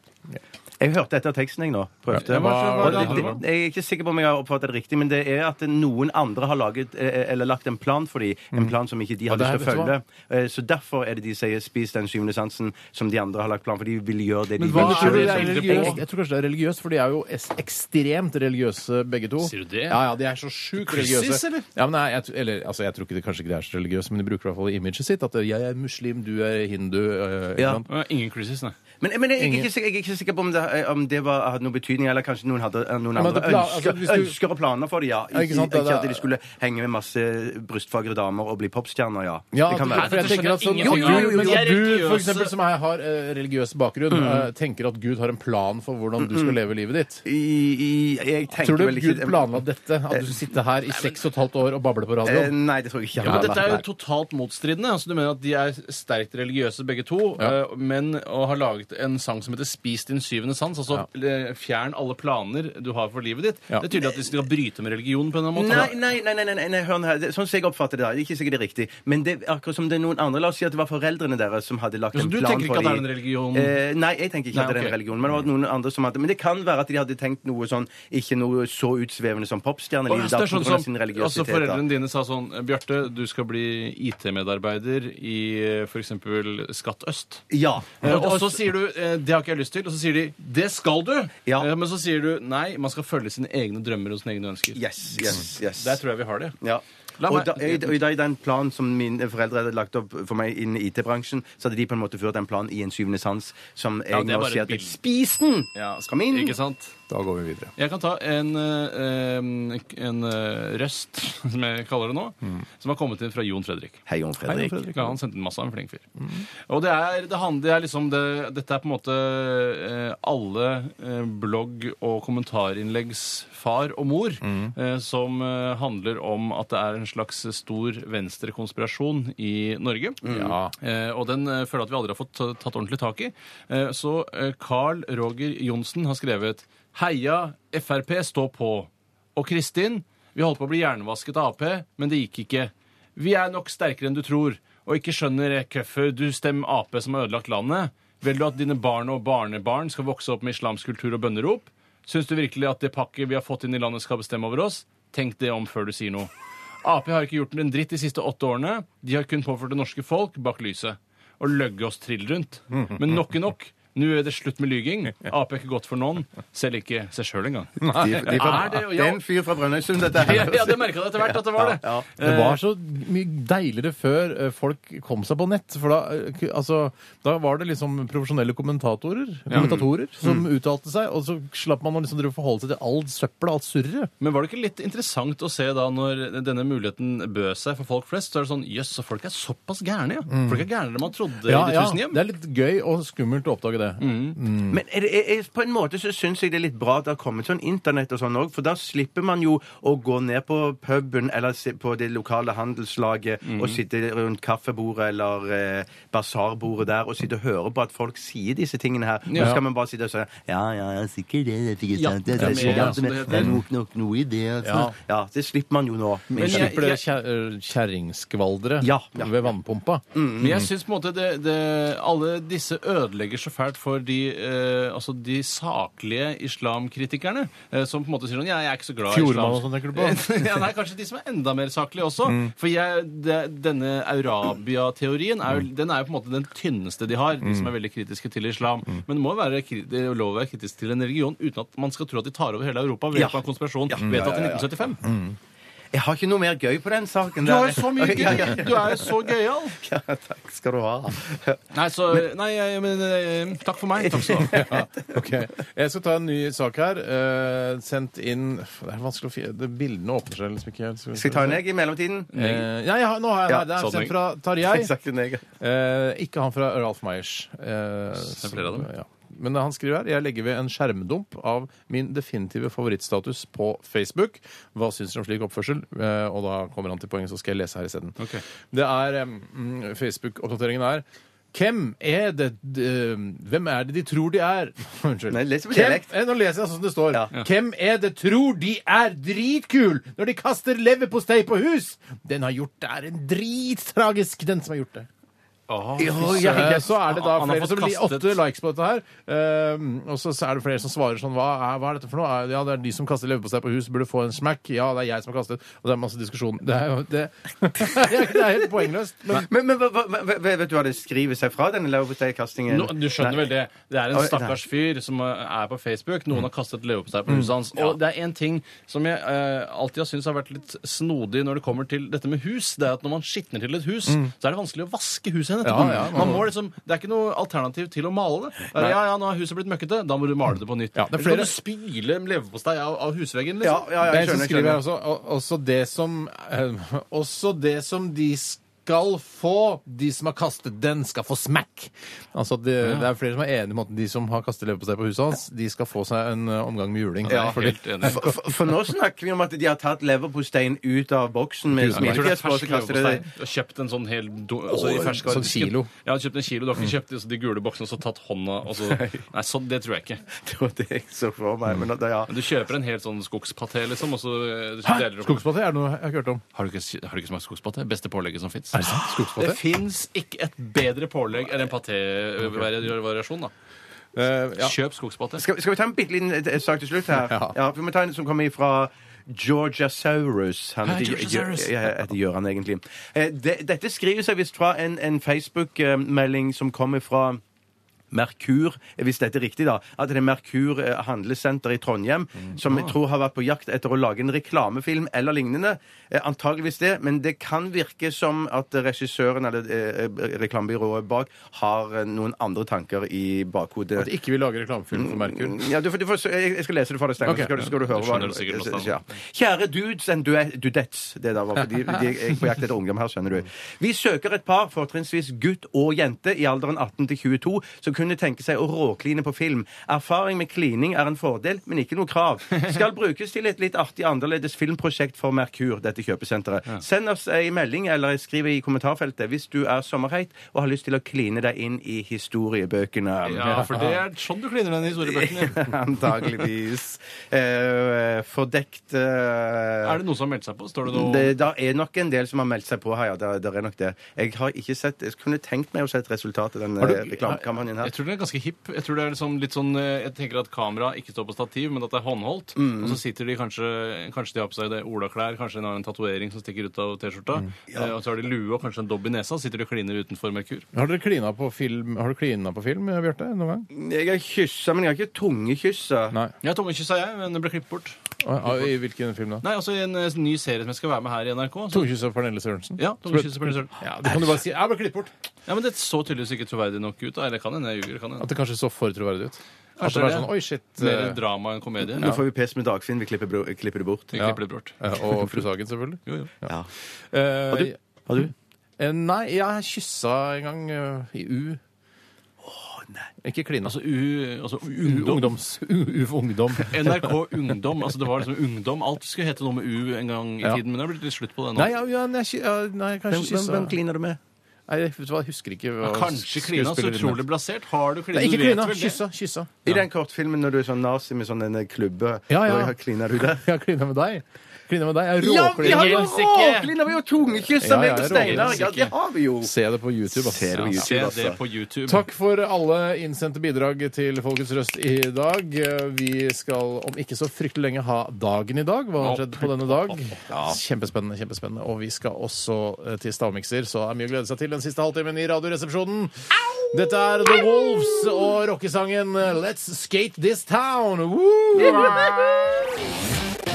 Jeg hørte etter teksten, jeg nå. Prøvde.
Ja, hva- hva-
Og det,
hva-
det, jeg er ikke sikker på om jeg har oppfattet det riktig, men det er at noen andre har laget, eh, eller lagt en plan for dem. En plan som ikke de har
Og Mm. det
lyst til å følge.
her,
Eh, Så derfor er det de sier 'spis den syvende sansen', som de andre har lagt plan for. De vil gjøre det de
Men hva
vil
er det
selv.
det er
som dere
religiøst?
på?
Jeg tror kanskje det er religiøst, for de er jo es- ekstremt religiøse begge to.
Sier du det?
Ja, ja, de er så sjukt
Kryssis,
religiøse.
eller?
Ja, men nei, jeg, tr- eller, altså, jeg tror ikke det, kanskje ikke det er så religiøst, men de bruker i hvert fall imaget sitt. At eh, jeg er muslim, du er hindu. eh, ikke
Ja.
sant?
Ja, Ingen cruises, nei.
Men, men jeg, er
Ingen-
ikke sikker, jeg er ikke sikker på om det, eh, om det var, hadde noen betydning, eller kanskje noen hadde eh, noen
men
andre
det pla- altså,
ønsker,
hvis du-
ønsker og planer for det, ja.
Ja, ikke
Ikke,
sant,
ikke,
det-
at de skulle henge med masse brystfagre damer og bli popstjerner, ja.
Ja,
det kan
at- for
være.
jeg tenker at sånn,
jo,
Jo,
jo, jo,
men
de
er
at du,
religiøse.
for eksempel, som jeg har eh, religiøs bakgrunn, eh, tenker at Gud har en plan for hvordan du skal leve livet ditt.
I, i, jeg tenker
Tror du
vel ikke
Gud planla dette? At du sitter her i seks og et halvt år og babler på
Eh,
radioen?
Nei, det tror jeg ikke.
Ja, men Dette er jo
Nei.
totalt motstridende. Altså, du mener at De er sterkt religiøse begge to,
Ja.
eh, men og har laget en sang som heter 'Spis din syvende sans'. Altså eh, fjern alle planer du har for livet ditt.
Ja.
Det er tydelig at de skal bryte med religionen på en eller annen måte.
Nei, nei, nei, nei, nei, nei, nei, hør nå her. Det- Sånn som jeg oppfatter det, da. det er ikke sikkert det er riktig. Men det, er akkurat som det er noen andre La oss si at det var foreldrene deres som hadde lagt
Ja, så
en
du
plan
tenker ikke
for
at det er
de-
en religion?
Eh, nei, jeg tenker ikke
Nei,
at det er en
ok.
religion. Men det var noen andre som hadde Men det kan være at de hadde tenkt noe sånn Ikke noe så utsvevende som
Og
popstjerneliv.
det
da,
er sånn
på grunn av
som,
sin
altså
religiøsitet, da.
Foreldrene dine sa sånn Bjarte, du skal bli IT-medarbeider i f.eks. Skatt øst.
Ja.
Eh, Og så sier du eh, 'det har ikke jeg lyst til', og så sier de 'det skal du'.
Ja.
Eh, Men så sier du nei, man skal følge sine egne drømmer og sine egne ønsker.
Yes, yes, yes.
Der tror jeg vi har det.
Ja.
La
og,
meg-
da, i- og i da, i den planen som mine foreldre hadde lagt opp for meg innen IT-bransjen, så hadde de på en måte ført en plan i en syvende sans som jeg
det er
nå
bare
sier at
et
jeg-
bilde.
Spis den!
Ja,
Kom inn!
Ikke sant?
Da går vi videre.
Jeg kan ta en, eh, eh, en eh, røst, som jeg kaller det nå, som har kommet inn fra Jon Fredrik.
Hei, Jon Fredrik.
Ja, han sendte inn masse av en flink fyr. Og det er, det handler, det er liksom det, Dette er på en måte eh, alle eh, blogg- og kommentarinnleggs far og mor, eh, som eh, handler om at det er en slags stor venstrekonspirasjon i Norge.
Ja.
Eh, og den eh, føler jeg at vi aldri har fått ta- tatt ordentlig tak i. Eh, så eh, Carl Roger Johnsen har skrevet Heia Frp, stå på. Og Kristin, vi holdt på å bli hjernevasket av Ap, men det gikk ikke. Vi er nok sterkere enn du tror, og ikke skjønner eh, hvorfor du stemmer Ap som har ødelagt landet. Vil du at dine barn og barnebarn skal vokse opp med islamsk kultur og bønnerop? Syns du virkelig at det pakket vi har fått inn i landet skal bestemme over oss? Tenk det om før du sier noe. Ap har ikke gjort en dritt de siste åtte årene. De har kun påført det norske folk bak lyset. Og løgge oss trill rundt. Men nok er nok. Nå er det slutt med lyging. Ap er ikke godt for noen. Selv ikke seg sjøl engang.
De, de
Er det- ja.
det er en fyr fra Brønnøysund, dette her.
Ja, ja, det merka jeg etter hvert at det var det.
Ja,
Det var så mye deiligere før eh, folk kom seg på nett. For da, eh, k- altså, da var det liksom profesjonelle kommentatorer,
Mm.
kommentatorer som uttalte seg, og så slapp man å liksom drive og forholde seg til all søppel og alt surret.
Men var det ikke litt interessant å se da når denne muligheten bød seg for folk flest? Så er det sånn Jøss, så folk er såpass gærne, Mm. ja. Folk er gærnere enn man trodde i de tusen hjem.
Det er litt gøy og skummelt å oppdage det. det.
Mm.
Men er det, er, er, på en måte så syns jeg det er litt bra at det har kommet sånn internett og sånn òg, for da slipper man jo å gå ned på puben eller se på det lokale handelslaget
Mm.
og sitte rundt kaffebordet eller eh, basarbordet der og sitte og høre på at folk sier disse tingene her. Nå
Ja.
skal man bare sitte og si Ja, ja, ja, sikkert det. Det fikk jeg
Ja,
sant. Det,
det er
det,
mer,
sikkert,
som det
men
heter.
det er nok, nok noe i det. Altså.
Ja.
Ja, det slipper man jo nå.
Men
jeg-
slipper dere kjer- øh, kjerringskvaldere
Ja, Mm. ja.
ved vannpumpa?
Men jeg syns på en måte det, det, alle disse ødelegger så fælt for de, eh, altså de saklige islamkritikerne, eh, som på en måte sier sånn Ja, jeg er ikke så glad
Fjordmann og sånn tenker du på?
ja, nei, kanskje de som er enda mer saklige også. For jeg, det, denne Eurabia-teorien er, jo- den er jo på en måte den tynneste de har, de som er veldig kritiske til islam. Men det må jo være kri- det er jo lov å være kritisk til en religion uten at man skal tro at de tar over hele Europa ved
Ja.
hjelp av konspirasjon
Ja.
vedtatt
Ja,
i
ja, ja.
1975.
Jeg har ikke noe mer gøy på den saken.
Du
der.
har jo så mye
Ja, ja,
gøy! Du er jo så gøyal!
ja, takk skal du ha.
Nei, så Nei, jeg, men eh, Takk for meg. Takk skal du ha.
Ja, ok. Jeg skal ta en ny sak her. eh, sendt inn Det er vanskelig å fi- det- Bildene åpner seg liksom ikke helt.
Skal jeg ta en egg i mellomtiden?
Eh, ja, jeg har, nå har jeg
Ja,
det. Det er
sånn egg.
sendt fra
Jeg
Tarjei.
har sagt en egg.
Eh, ikke han fra Ralf Meyers. Eh,
er flere av dem.
som- Ja. Men eh, han skriver her jeg legger ved en skjermdump av min definitive favorittstatus på Facebook. Hva syns dere om slik oppførsel? Eh, og da kommer han til poenget, så skal jeg lese her isteden.
Ok.
Det er eh, mm, Facebook-oppdateringen er hvem er det eh, Hvem er det de tror de er? Unnskyld.
Nei, les på
Hvem-
dialekt.
Eh, Nå leser jeg sånn som det står.
Ja.
Hvem er det tror de er dritkul når de kaster leverpostei på hus? Den har gjort det er en drittragisk, den som har gjort det.
Jo,
Så,
ja, ja.
så er det da
Han har
flere
fått
som blir
kastet-
åtte likes på dette her. ehm, og så er det flere som svarer sånn Hva er, hva er dette for noe? Eh, Ja, det er de som kaster leverpostei på hus, burde få en smack. Ja, det er jeg som har kastet. Og det er masse diskusjon. Det er, jo- det, det er helt poengløst. Men
Men, men hva, hva, hva- vet du hva det skriver seg fra, denne leverposteikastingen?
Nå- du skjønner
Nei.
vel det. Det er en
Oi, nei.
stakkars fyr som eh, er på Facebook. Noen har kastet leverpostei på huset hans. Og det er en ting som jeg eh, alltid har syntes har vært litt snodig når det kommer til dette med hus. Det er at når man skitner til et hus, så er det vanskelig å vaske huset igjen etterpå.
Ja, ja, man
man må liksom, det er ikke noe alternativ til å male det. Det er, Ja, ja, nå har huset blitt møkkete. Da må du male det på nytt.
Ja, det er
Eller
flere-
kan du spyle leverpostei av, av husveggen,
Ja,
liksom.
ja, ja,
det
jeg
er en som
skjønner. jeg
skriver her
skjønner.
også, og- også det som eh, Også det som de skal få, de som har kastet den, skal få smack. Altså det, det er flere som er enige om at de som har kastet leverpostei på huset hans, de skal få seg en eh, omgang med juling.
Ja, helt enig.
For, for, for nå snakker vi om at de har tatt leverposteien ut av boksen med
Tusen takk.
Jeg tror det er
smilefjes på, og
fersk
så kaster de det.
leverpostei. Du har kjøpt en sånn hel do, altså, i fersk
sånn
varedisken.
kilo.
Ja, du har kjøpt en kilo. Du har ikke kjøpt de- de gule boksene og så tatt hånda og så Nei, sånn, det tror jeg ikke.
Det var det jeg så for meg. Men da, ja.
Men Du kjøper en hel sånn skogspaté, liksom, og så eh, deler du opp.
Skogspaté er det noe jeg har ikke hørt om.
Har du ikke, har du ikke smakt skogspaté? Beste pålegget som fins.
Skogspaté?
Det fins ikke et bedre pålegg enn en patévariasjon, da.
Eh, ja.
Kjøp skogspaté.
skal, skal vi ta en bitte liten eh, sak til slutt her?
Ja.
Ja, vi må ta en som kommer fra Georgia Saurus. Han
Hei,
heter,
Georgia Saurus.
Ja, ja, heter Gøran, egentlig. Eh, det- dette skriver seg visst fra en, en Facebook-melding som kommer fra Merkur, hvis dette er riktig, da. At det er Merkur eh, handlesenter i Trondheim
Mm.
som
Ah.
jeg tror har vært på jakt etter å lage en reklamefilm eller lignende. Eh, Antageligvis det, men det kan virke som at regissøren eller eh, eh, reklamebyrået bak har eh, noen andre tanker i bakhodet.
At ikke vi lager reklamefilm for Merkur.
Mm, Ja, du, får- du får, jeg jeg skal lese det for deg, Steinar.
Ok.
Så skal, du- skal du høre
Du
hva
skjønner det sikkert nå, Steinar.
Kjære dudes and due- dudettes. Det der var fordi de er på jakt etter ungdom her, skjønner du. Vi søker et par, fortrinnsvis gutt og jente, i alderen 18 til 22, som kunne tenke seg å råkline på film. Erfaring med klining er en fordel, men ikke noe krav. Skal brukes til et litt artig annerledes filmprosjekt for Merkur, dette kjøpesenteret. Send oss ei melding eller skriv i kommentarfeltet hvis du er sommerheit og har lyst til å kline deg inn i historiebøkene.
Ja, for det er sånn du kliner den historiebøkene.
Antageligvis. Eh, fordekt eh,
Er det noen som har meldt seg på? Står det noe
det, der er nok en del som har meldt seg på her. ja, der, der er nok det. Jeg har ikke sett, jeg kunne tenkt meg å se et resultat av den
du-
eh, reklamekampanjen her.
Jeg tror det er ganske hipp. Jeg tror det er liksom litt sånn, eh, jeg tenker at kameraet ikke står på stativ, men at det er håndholdt. Og så sitter de kanskje kanskje de har på seg det olaklær, kanskje en har en tatovering som stikker ut av T-skjorta. Eh, Og så har de lue og kanskje en dobb i nesa. Sitter de og kliner utenfor Merkur.
Har dere klina på film, har du klina på film, Bjarte? Noen gang?
Jeg har kyssa, men jeg har ikke tungekyssa.
Nei.
Ja, tungekyssa jeg, men det ble klippet bort.
Ah, ah, I hvilken film da?
Nei, altså i en eh, ny serie som jeg skal være med her i NRK. Så,
Tungekyss av Pernille Sørensen?
ja, tungekyssa på Lillestrøm.
Ja, det kan du bare si. Jeg ble klippet bort.
ja, men det så tydeligvis ikke troverdig nok ut. da. Eller kan hende jeg ljuger. kan
At
hende.
det kanskje så for troverdig ut. At
Kanskje
det var
det.
sånn, Oi, shit.
Mer
eh,
drama enn komedie.
Nå får vi pes med Dagfinn. Vi klipper, bro- klipper det bort.
Vi
Ja.
klipper det bort.
eh, Og fru Sagen, selvfølgelig.
Jo, jo.
Ja.
Eh,
Har du? Har du?
eh, Nei, jeg kyssa en gang eh, i U.
nei.
Ikke kline.
Altså, u, altså ungdom.
Ungdoms... UF Ungdom.
NRK Ungdom. altså Det var liksom ungdom. Alt skulle hete noe med U en gang i
Ja.
tiden, men det har blitt litt slutt på det nå.
Nei, ja, ja, nei, ky- ja, nei,
Hvem,
kanskje
hvem,
kyssa.
hvem kliner du med?
Nei, jeg vet hva, jeg husker ikke. Hva
Kanskje klina så
skuespillerinnen
utrolig blasert. Har du klina?
Nei, ikke
Du vet
klina.
vel det?
Kyssa. kyssa.
I den kortfilmen når du er sånn nazi med sånn en klubbe
Ja, ja.
og Kliner du der?
Jeg har klina med deg. Klina med deg. Jeg
Ja, vi
råklina
har
med
jo
deg.
Helsike.
råklina! Vi har jo tungekysset,
Ja,
meg
ja,
og Steinar! Ja,
helsike.
det har vi jo!
Se det på YouTube. ass.
Ser du
Ja, se
YouTube, altså.
det på YouTube.
Takk for alle innsendte bidrag til Folkets Røst i dag. Eh, Vi skal om ikke så fryktelig lenge ha dagen i dag. Hva har skjedd på denne dag? Kjempespennende. kjempespennende. Og vi skal også eh, til stavmikser, så det er mye å glede seg til den siste halvtimen i Radioresepsjonen. Dette er The Wolves og rockesangen Let's Skate This Town. Woo!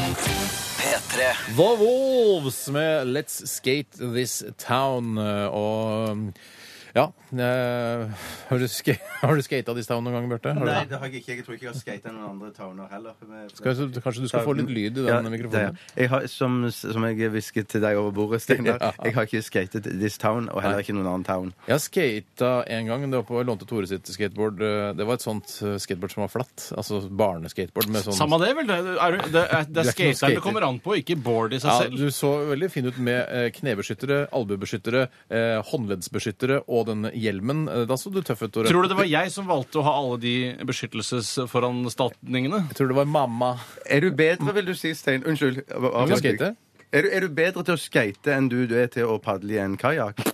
P3.
The Wolves med Let's Skate This Town. eh, Og ja eh, Har du, sk har du skata This Town noen gang, Barte? Har du-
Nei, det har jeg ikke. Jeg tror ikke jeg har skata noen andre towner heller.
Skal jeg- Kanskje du skal få litt lyd i den mikrofonen?
Jeg har, som, som jeg hvisket til deg over bordet, Steinar,
Ja.
jeg har ikke skatet This Town, og heller ikke noen annen town.
Jeg har skata en gang. Det var på, jeg lånte Tore sitt skateboard. eh, Det var et sånt eh, skateboard som var flatt. Altså barneskateboard med sånn
Samme det, vel. Det er, det er, det
Det er
er
ikke noe
skateren
skater.
det kommer an på, ikke board i seg
ja,
selv.
Du så veldig fin ut med eh, knebeskyttere, albuebeskyttere, eh, håndleddsbeskyttere og den hjelmen. Eh, Da så du tøff ut, Tore.
Tror du det var jeg som valgte å ha alle de beskyttelsesforanstaltningene?
Jeg tror det var mamma.
Er du bedre, vil du si, Stein? Unnskyld. av-
Til å skate?
Er du, er du bedre til å skate enn du, du er til å padle i en kajakk?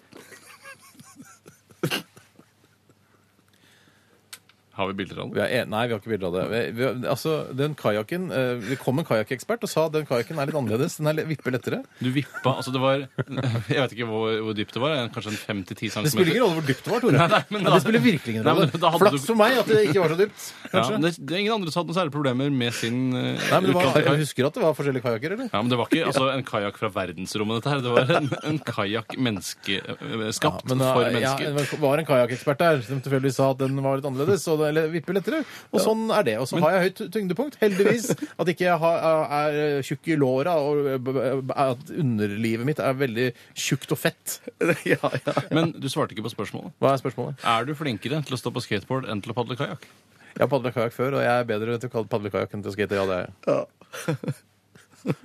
Har vi bilder av
Vi
det?
er en, nei, vi har ikke bilder av det. Vi, vi, altså, den kajakken eh, Det kom en kajakkekspert og sa at den kajakken er litt annerledes. Den er litt- vipper lettere.
Du vippa Altså, det var Jeg vet ikke hvor, hvor dypt det var. Kanskje en 5-10 cm?
Det spiller ingen rolle hvor dypt det var, Tore.
Nei, nei, men
Ja,
da-
det spiller virkelig ingen
Nei, men
rolle.
da hadde
Flaks
du-
for meg at det ikke var så dypt,
Ja,
kanskje.
men det, det er ingen andre som har hatt noen særlige problemer med sin eh,
Nei, men det var,
utkantkajakk.
jeg husker at det var forskjellige kajakker, eller?
Ja, men det var ikke altså, en kajakk fra verdensrommet, dette her. Det var en, en kajakk menneske, eh, skapt
men eh,
for
ja,
mennesker.
det var- var en kajakkekspert der som tilfeldigvis sa at den var litt annerledes. Og det, eller vipper lettere. Og sånn er det. Og så har jeg høyt tyngdepunkt, heldigvis. At ikke jeg har, er eh, tjukk i låra, og eh, b- b- at underlivet mitt er veldig tjukt og fett.
ja, ja.
Men du svarte ikke på spørsmålet.
Hva er spørsmålet?
Er du flinkere til å stå på skateboard enn til å padle kajakk?
Jeg har padla kajakk før, og jeg er bedre til å kalle padle kajakk enn til å skate. Ja, det er jeg.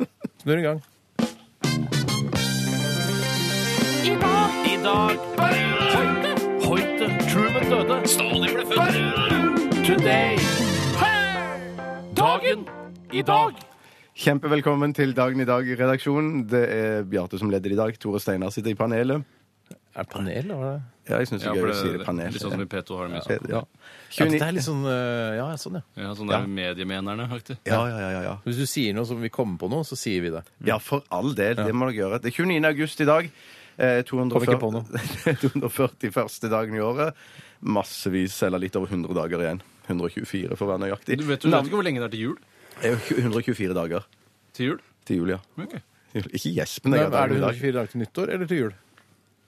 Snurr en gang.
I dag Hoite Truman døde. Stalin ble født. Today. Dagen i dag.
Kjempevelkommen til Dagen i dag i redaksjonen. Det er Bjarte som leder i dag. Tore Steinar sitter i panelet.
Er det panel, eller hva er det?
Ja, jeg syns det
Ja,
er gøy
for
å si det
det,
panel.
litt sånn som i P2 har med
Ja.
Ja, det
29
er litt sånn øh, Ja, sånn, ja.
Ja, sånn der mediemenerne, faktisk.
ja, ja, ja, ja, ja.
Hvis du sier noe som vi kommer på noe, så sier vi det.
Ja, for all del. Det må dere gjøre. Det er 29. august i dag. Eh, 240,
Kom ikke på noe.
241. dagen i året. Massevis, eller litt over 100 dager igjen. 124 for å være nøyaktig.
Du vet, du vet ikke hvor lenge det er til jul?
Det er jo 124 dager
Til jul?
til jul, ja.
Ok.
Ikke gjesp, men
Nei,
jeg
er det
i dag.
124 dager til nyttår eller til jul?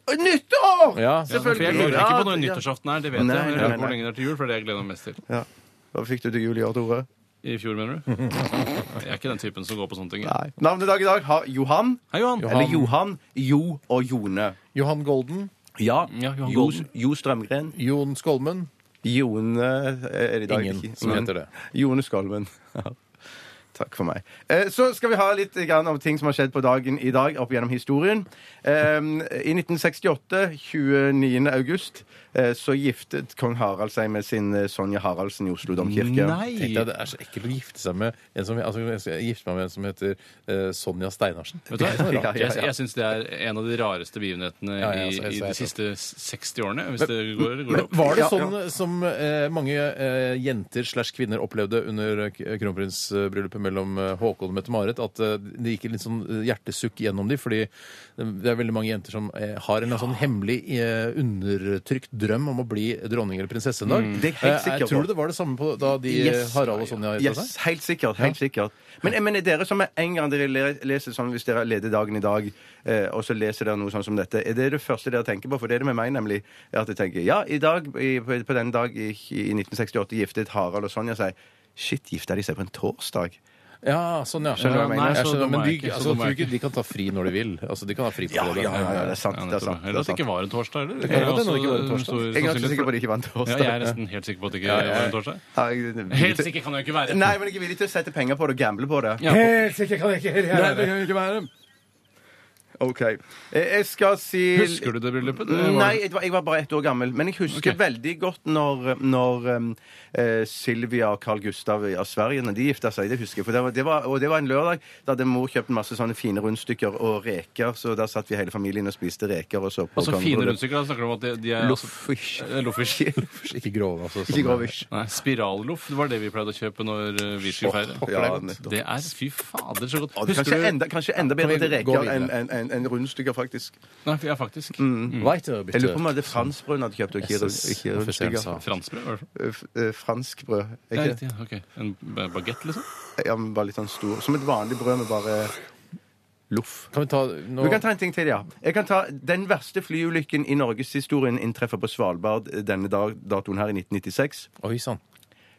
Nyttår!
Ja,
Ja, for jeg lurer ikke på når nyttårsaften er, det vet
Nei,
jeg. Men
nei,
jeg lurer på
nei.
hvor lenge det er til jul, for det jeg gleder meg mest til.
Ja. Hva fikk du til jul i år, Tore?
I fjor, mener du? Jeg er ikke den typen som går på sånne ting. jeg.
Navnedag i dag har Johan,
Hei, Johan.
eller Johan, Jo og Jone.
Johan Golden,
Ja,
Ja, Johan
jo,
Golden.
jo Strømgren.
Jon Skolmen
Jone eh, er i dag
Ingen
ikke.
som heter det.
Jone Skolmen. Ja. Takk for meg. Eh, Så skal vi ha litt grann om ting som har skjedd på dagen i dag opp gjennom historien. Eh, I 1968, 29. august, eh, så giftet kong Harald seg med sin eh, Sonja Haraldsen i Oslo domkirke.
Tenkte jeg,
Nei!
Det er så ekkelt å gifte seg med en som, altså, jeg skal gifte meg med en som heter eh, Sonja Steinarsen.
Vet du hva?
Ja, ja, ja.
Jeg, jeg syns det er en av de rareste begivenhetene
Ja, ja,
i,
så- så-
i
så-
de siste 60 årene, hvis det går, går
Men
opp.
Var det
Ja,
sånn som eh, mange eh, jenter slash kvinner opplevde under eh, k- kronprinsbryllupet mellom eh, Håkon og Mette-Marit, at eh, det gikk en litt sånn eh, hjertesukk gjennom dem? Fordi eh, det er veldig mange jenter som eh, har en eller annen sånn hemmelig, eh, undertrykt drøm om å bli dronning eller prinsesse en dag.
Mm. Det er jeg helt
Eh,
sikker på.
tror du det var det samme på da de eh,
Yes.
Harald og Sonja gifta
Yes,
seg?
helt sikkert. helt sikkert. Men jeg mener, dere som med en gang dere le- leser sånn, hvis dere leder dagen i dag, eh, og så leser dere noe sånn som dette, er det det første dere tenker på? For det er det med meg, nemlig. er At jeg tenker ja, i dag, i, på på den dag i, i 1968 giftet Harald og Sonja seg. Shit, gifta de seg på en torsdag?
Ja, sånn, ja.
Skjønner du hva jeg
Ja,
mener?
nei,
Jeg
så
skjønner hva
men
jeg
de,
mener. Så
altså,
dum er
tror
jeg
ikke de kan ta fri når de vil. Altså, de kan ha fri på
Ja,
fredag.
ja, ja, ja, det er sant. Det er
Ja, nettopp.
sant.
Eller
Det er
at det
sant.
ikke var en torsdag heller.
kan
Det er
godt hende
også
det ikke var en
stor
torsdag.
Jeg er ganske sikker
sannsynlighet
på at
for-
det ikke vant
Ja,
torsdag.
jeg er nesten helt sikker på at det ikke var en torsdag.
Ja, jeg-
Helt sikker kan jeg jo ikke være.
Nei, men jeg er villig til å sette penger på det og gamble på det.
Ja.
Helt sikkert kan jeg ikke heller
Nei, det kan jeg ikke være.
OK. Eh, Jeg skal si
Husker du det bryllupet? Det var-
Nei, jeg var, jeg var bare ett år gammel. Men jeg husker
Ok.
veldig godt når, når um, eh, Sylvia og Carl Gustav av Sverige Når de gifta seg. Det husker jeg. For det var, det var, og det var en lørdag. Da hadde mor kjøpt masse sånne fine rundstykker og reker. Så der satt vi hele familien og spiste reker og så på.
Altså fine
kongebryllup.
rundstykker. Da snakker du om at de, de er altså,
Loffish.
eh, Loffers.
Ikke grov, altså.
Ikke grovish.
Nei, Spiralloff det var det vi pleide å kjøpe når eh, vi skulle feire.
Ja,
Det er Fy fader, så godt.
Og det er kanskje, enda, kanskje enda bedre
Kan vi
til
gå
reker
videre?
enn enn- enn- enn rundstykker, faktisk.
Nei, ja, faktisk.
Mm.
Weiter,
Jeg lurer på om
bitte.
det er franskbrød hun hadde kjøpt, og ikke rund-
SS,
ikke
offisiell
rundstykker.
sak.
Franskbrød? var det sånn?
Eh, f- eh, Fransk brød. er
Ja,
Ikke?
riktig. ja, ok. En bagett, liksom?
Ja, men bare litt sånn stor. Som et vanlig brød med bare loff.
Kan vi ta
Du
nå
kan ta en ting til, ja. Jeg kan ta Den verste flyulykken i norgeshistorien inntreffer på Svalbard denne dag, datoen her i 1996.
Oi sann.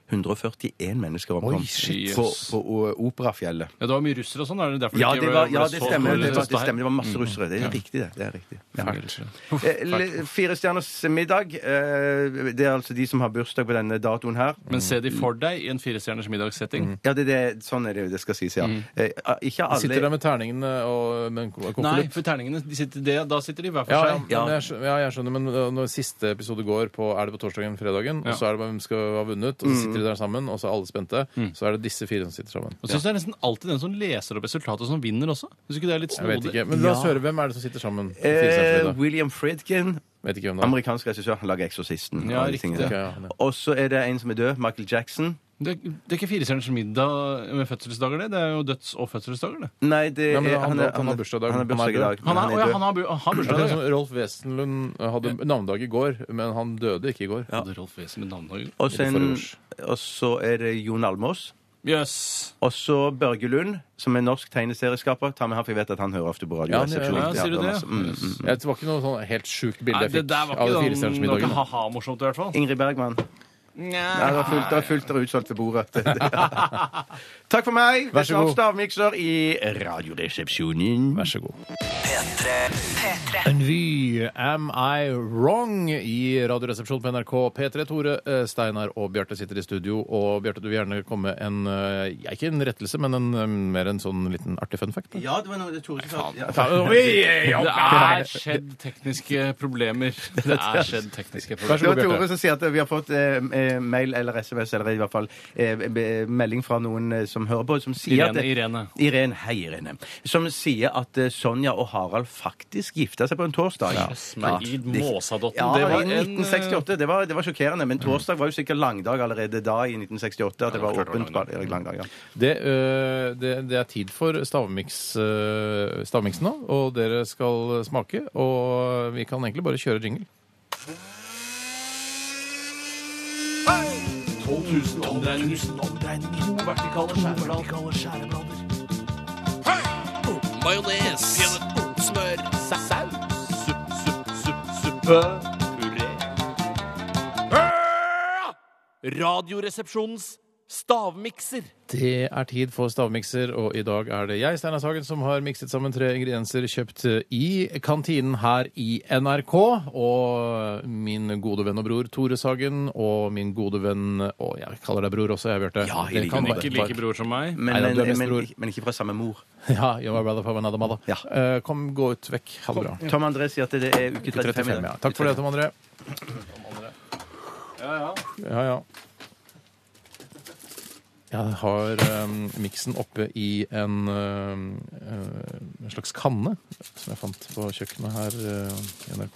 141 mennesker omkom
Oi, shit.
på, på O- Operafjellet.
Ja, Det var mye russere og sånn? er det derfor
Ja,
ikke
det, var,
ble
ja,
så
det stemmer.
store
Det var, det
protester her?
stemmer. Det var masse russere. Det er riktig, det. det er riktig. Ja.
Fælt. Uff,
Eh,
fælt.
le- Fire stjerners middag. eh, Det er altså de som har bursdag på denne datoen her.
Men se de for deg i en firestjerners middagssetting.
Ja, det, det, sånn er det jo. Det skal sies, ja.
Mm.
Eh, Ikke alle
Sitter der med terningene og med en
Nei,
konvolutt?
for terningene de sitter, det, da sitter de hver for
Ja,
seg.
men jeg, skjø- ja, jeg skjønner, men uh, når siste episode går på Er det på torsdagen fredagen,
Ja.
og så er det hvem skal ha vunnet, og så sitter
Mm.
de der sammen, og så er alle spente, så er det disse fire som sitter sammen.
Og synes Det er nesten alltid den som leser opp resultatet, som vinner også. Synes ikke det er litt
Jeg vet
snodig?
ikke, Men la oss høre hvem er det som sitter sammen. på fire stjerner
Eh,
fredag.
William Fridkin,
Vet ikke hvem det er.
amerikansk regissør, han lager 'Eksorsisten'.
Ja,
og de
riktig.
tingene der.
Ok, ja, han er-
Og så er det en som er død, Michael Jackson.
Det, er- det er ikke firestjerners middag med fødselsdager, det. Det er jo døds- og fødselsdager, det.
Nei, det
Ja, men
er,
han- han har bursdag i dag.
Han har bursdag i dag.
Han, er,
men
å ja,
død.
han har, bu- har
Ja, det
bursdag i
er sånn-
dag.
som Rolf Wesenlund eh, hadde navnedag i går, men han døde ikke i går.
Ja. Hadde Rolf Wesen med navnedag?
Og så
i det
en-
forrige
og så er det Jon Almås.
Jøss.
Og så Børge Lund, som er norsk tegneserieskaper. Ta med han, for jeg vet at han hører ofte på
Ja, han gjør det.
Radioresepsjonen.
Ja, sier du det?
masse- mm,
Jøss.
mm.
Jeg- Det var ikke noe sånn helt sjukt bilde
Nei,
jeg
det
fikk
der var
av de
ikke,
firestjerners
sånn- det var
middagen.
ikke ha-ha-morsomt, i hvert fall.
Ingrid Bergman. Ja, det var fullt, det var fullt og utsolgt ved bordet. Takk for meg.
Vær så god.
Stavmikser i Radioresepsjonen.
Vær så god.
P3.
En vy, Am I Wrong? i Radioresepsjonen på NRK P3. Tore, eh, Steinar og Bjarte sitter i studio. Og Bjarte, du vil gjerne komme en eh, ja, Ikke en rettelse, men en, eh, mer en sånn liten artig fun fact. da.
Ja, det var noe det Tore som sa. Ja.
Det er skjedd tekniske problemer. Det er skjedd tekniske problemer.
Det var Tore som sier at vi har fått eh, eh, mail eller SMS eller i hvert fall eh, be- melding fra noen eh, som hører på, som sier at
Irene, Irene.
Irene, hei, Irene. Som sier at eh, Sonja og Harald faktisk gifta seg på en torsdag.
Jøss, men i Måsadotten,
Ja,
det var
i
en, eh,
1968. Det var, det var sjokkerende. Men torsdag var jo sikkert langdag allerede da, i 1968. At det var
klart det var
åpent på eller langdag. Ja.
Det, eh, det, det er tid for stavmiks, eh, stavmiksen nå, og dere skal smake. Og vi kan egentlig bare kjøre jingle.
12 000 omdreininger. To vertikale skjæreblader. Majones. Smør. Saus. Supp, supp, supp, suppe. Puré. Radioresepsjonens stavmikser.
Det er tid for stavmikser, og i dag er det jeg, Steinar Sagen, som har mikset sammen tre ingredienser kjøpt eh, i kantinen her i NRK. Og min gode venn og bror Tore Sagen, og min gode venn Og jeg kaller deg bror også, jeg, Bjarte.
Ja, i
Det
like
kan
måte.
være-
Ikke like bror som meg.
Men,
Nei, da,
men,
du er
men,
mest bror.
ikke- men ikke fra samme mor.
Ja, you're my brother from another mother.
Ja.
Eh, kom, gå ut vekk. Ha det bra.
Tom André sier at det er uke 35. i dag.
35, ja. Takk for det, Tom André. Ja, ja. Jeg har um, miksen oppe i en, um, eh, en slags kanne som jeg fant på kjøkkenet her eh, i NRK.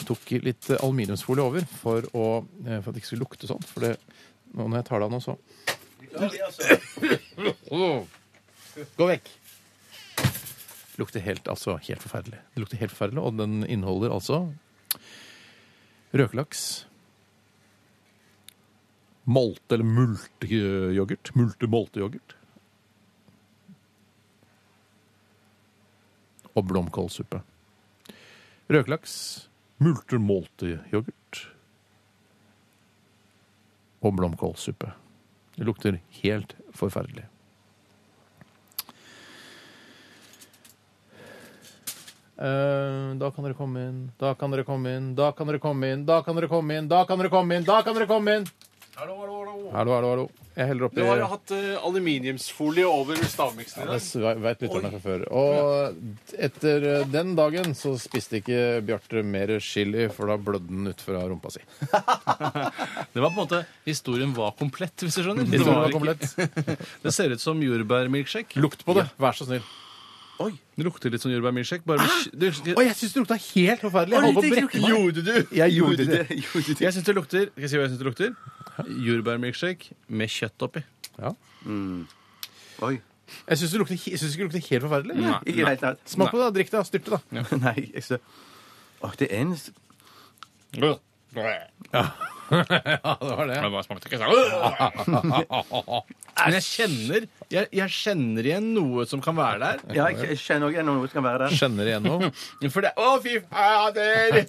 Jeg tok i litt eh, aluminiumsfolie over for, å, eh, for at det ikke skulle lukte sånn. For det, nå når jeg tar det av nå, så Gå vekk! Lukter helt, altså, helt forferdelig. Det lukter helt forferdelig, og den inneholder altså røkelaks. Molte- eller multeyoghurt. Multe-molteyoghurt. Og blomkålsuppe. Røkelaks, multe-molteyoghurt og blomkålsuppe. Det lukter helt forferdelig. Eh, da kan dere komme inn, da kan dere komme inn, da kan dere komme inn, da kan dere komme inn, da kan dere komme inn! da kan dere komme inn Hallo, hallo, hallo. Jeg heller oppi
Du har jo hatt eh, aluminiumsfolie over stavmiksen i dag.
Veit lytterne fra før. Og etter eh, den dagen så spiste ikke Bjarte mer chili, for da blødde den ut fra rumpa si.
Det var på en måte Historien var komplett, hvis du skjønner.
Det
Det, var
var
ikke-
komplett.
det ser ut som jordbærmilkshake.
Lukt på det, vær så snill.
Oi, det lukter litt som jordbærmilkshake. Bare med, du,
Og jeg syns det lukta helt forferdelig. Jeg holdt på å brekke meg.
Gjorde du?
Jeg gjorde det.
Jeg syns det lukter Skal jeg si hva jeg syns det lukter? Jordbærmilkshake med kjøtt oppi.
Oi.
Jeg syns det lukter he- jeg synes ikke det lukter helt forferdelig.
Ikke i det hele tatt.
Smak på det, da. drikk det, da. styrt det, da.
Nei, jeg så Åh, det er en s-
Ja, det var det.
Det bare smakte ikke sånn. Men jeg kjenner, jeg, jeg kjenner igjen noe som kan være der.
Ja, jeg jeg kjenner òg noe som kan være der.
Skjønner igjen noe.
For det Å, fy fader!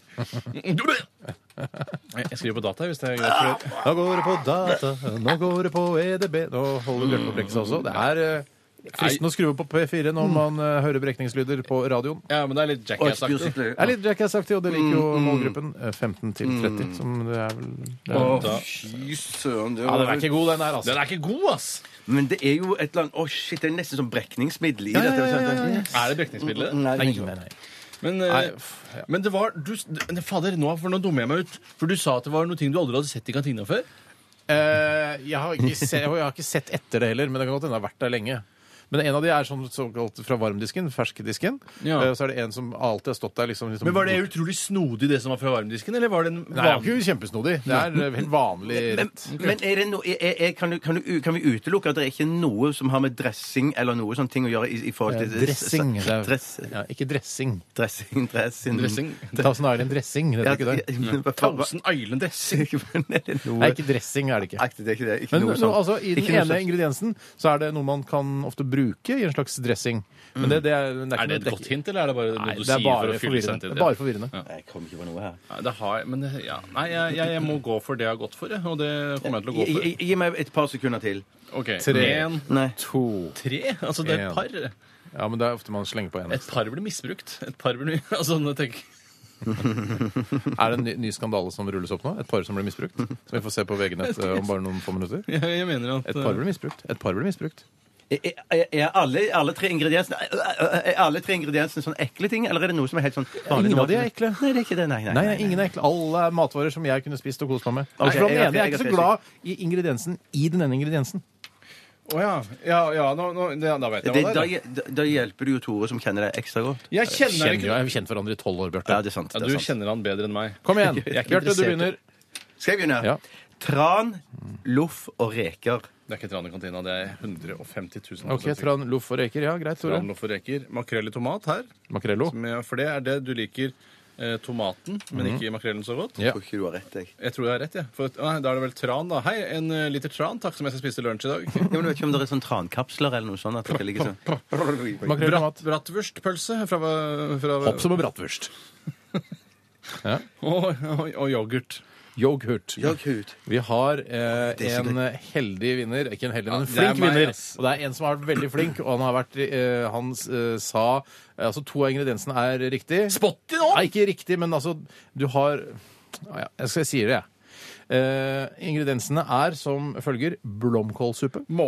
Jeg skriver på data hvis det er greit.
Nå
for dere.
går det på data, nå går det på EDB Nå holder Bjarte på brekkelsen også. Det er eh, fristende å skru på P4 når man eh, hører brekningslyder på radioen.
Ja, men det er litt
Oi, spyr
jackass-aktig.
skikkelig.
Det er litt Jackass-aktig, og det liker
Mm,
jo målgruppen. eh, 15 til 30, som det er vel det er,
Å, fy søren. Det
Ja,
var
Den er ikke god, den her, altså.
Den er ikke god, ass!
Men det er jo et eller annet Å, shit, det er nesten som brekningsmiddel i
ja,
dette.
ja, ja, ja.
Er det brekningsmiddelet?
Nei, det er ikke.
nei, nei.
Men, eh,
Nei, f- ja.
men det var du, ne, Fader, nå, for nå dummer jeg meg ut. For du sa at det var noe ting du aldri hadde sett i kantina før.
Eh, jeg, har ikke se, jeg har ikke sett etter det heller, men det kan godt hende det har vært der lenge. Men en av de er sånn såkalt fra varmdisken, ferskdisken.
Ja.
Eh, Så er det en som alltid har stått der liksom, liksom
Men Var det utrolig snodig, det som var fra varmdisken? Eller var det en
Nei, det er jo ikke kjempesnodig. Det er eh, helt vanlig
Men,
rett.
men er det no, er, er, kan, du, kan, du, kan vi utelukke at det er ikke noe som har med dressing eller noe sånne ting å gjøre? i, i forhold til...
Dressing. det er-
Dress,
Ja, ikke dressing.
dressing, dressing.
dressing?
Thousand Island dressing, det
Ja,
er ikke det.
men hva- hva-
Thousand Island-dressing?
Men er det noe
Nei, ikke dressing er det ikke.
Aktig, det er ikke det. Ikke
Men
noe
nå,
sånt.
altså, I den
Ikke noe
ene
sånt.
ingrediensen så er det noe man kan ofte bruke i en slags dressing. Men det, det er, det
Er det
ikke
et
noe-
godt hint, eller er det bare noe
Nei,
du
det
sier
er
for
bare
å fylle
forvirrende.
seg
Det
til
er bare forvirrende.
Nei, Jeg kom ikke på noe her.
Nei, det har, men det, ja. Nei jeg, jeg, jeg må gå for det jeg har gått for, jeg. Og det kommer jeg til å gå
Gi,
for.
gi- gi meg et par sekunder til.
Ok,
Tre.
En,
Nei.
To.
tre? Altså, det er
En.
et par.
Ja, men det er ofte man slenger på en.
Et par blir misbrukt. Et par blir Altså, nå tenker jeg-
Er det en ny, ny skandale som rulles opp nå? Et par som blir misbrukt? Som vi får se på VG-nett eh, om bare noen få minutter?
jeg, jeg mener at
Et par blir misbrukt. Et par blir misbrukt.
Er, er, er alle, alle tre ingrediensene Er alle tre ingrediensene sånne ekle ting, eller er det noe som er helt sånn vanlig?
Ingen av de er ekle.
Nei, det er ikke det. Nei, nei.
Nei, nei, ingen er ekle. Alle er matvarer som jeg kunne spist og kost meg med.
Ok,
Bortsett fra den
jeg er-
ene. Jeg er
jeg er
ikke så glad i ingrediensen i den ene ingrediensen.
Å ja. Ja, ja nå, nå, ja, da vet jeg
Det,
hva
da,
det er.
da, da hjelper det jo Tore, som kjenner deg ekstra godt.
Jeg kjenner det
Kjenner jo,
ikke.
jeg har kjent hverandre i tolv år,
Ja,
Bjarte.
det er sant.
Ja,
Det
du
er sant.
kjenner han bedre enn meg.
Kom igjen.
Jeg er ikke
Bjarte, du
interessert.
begynner.
Skal jeg begynne?
Ja.
Tran, loff og reker.
Det er ikke tran i kantina, det er 150 000
Ok, tran, loff og reker. Ja, greit, Tore.
Tran, loff og reker. Makrell i tomat her.
Makrello.
Som jeg- For det er det du liker. Eh, tomaten, men ikke makrellen så godt.
Jeg
Ja.
tror ikke du har rett, jeg.
Jeg tror jeg har rett, jeg. For, nei, da er det vel tran, da. Hei, en eh, liter tran, takk, som jeg skal spise til lunsj i dag.
Ja, men du vet ikke om det er sånn trankapsler eller noe sånt? At det ligger sånn
Makrell i tomat.
Bratwurstpølse fra, fra
Hopp som en bratwurst.
og, og, og yoghurt.
Yoghurt.
Ja, kult.
Vi har
er
eh,
så
en heldig vinner. Ikke en heldig, men en
det er
flink
meg,
vinner.
ass.
Og det er en som har vært veldig flink, og han har vært eh, Han eh, sa eh, Altså, to av ingrediensene er riktig.
Spotty nå!
Nei, ikke riktig, men altså Du har ah, ja, Jeg skal si det, jeg. Eh, ingrediensene er som følger blomkålsuppe.
Må.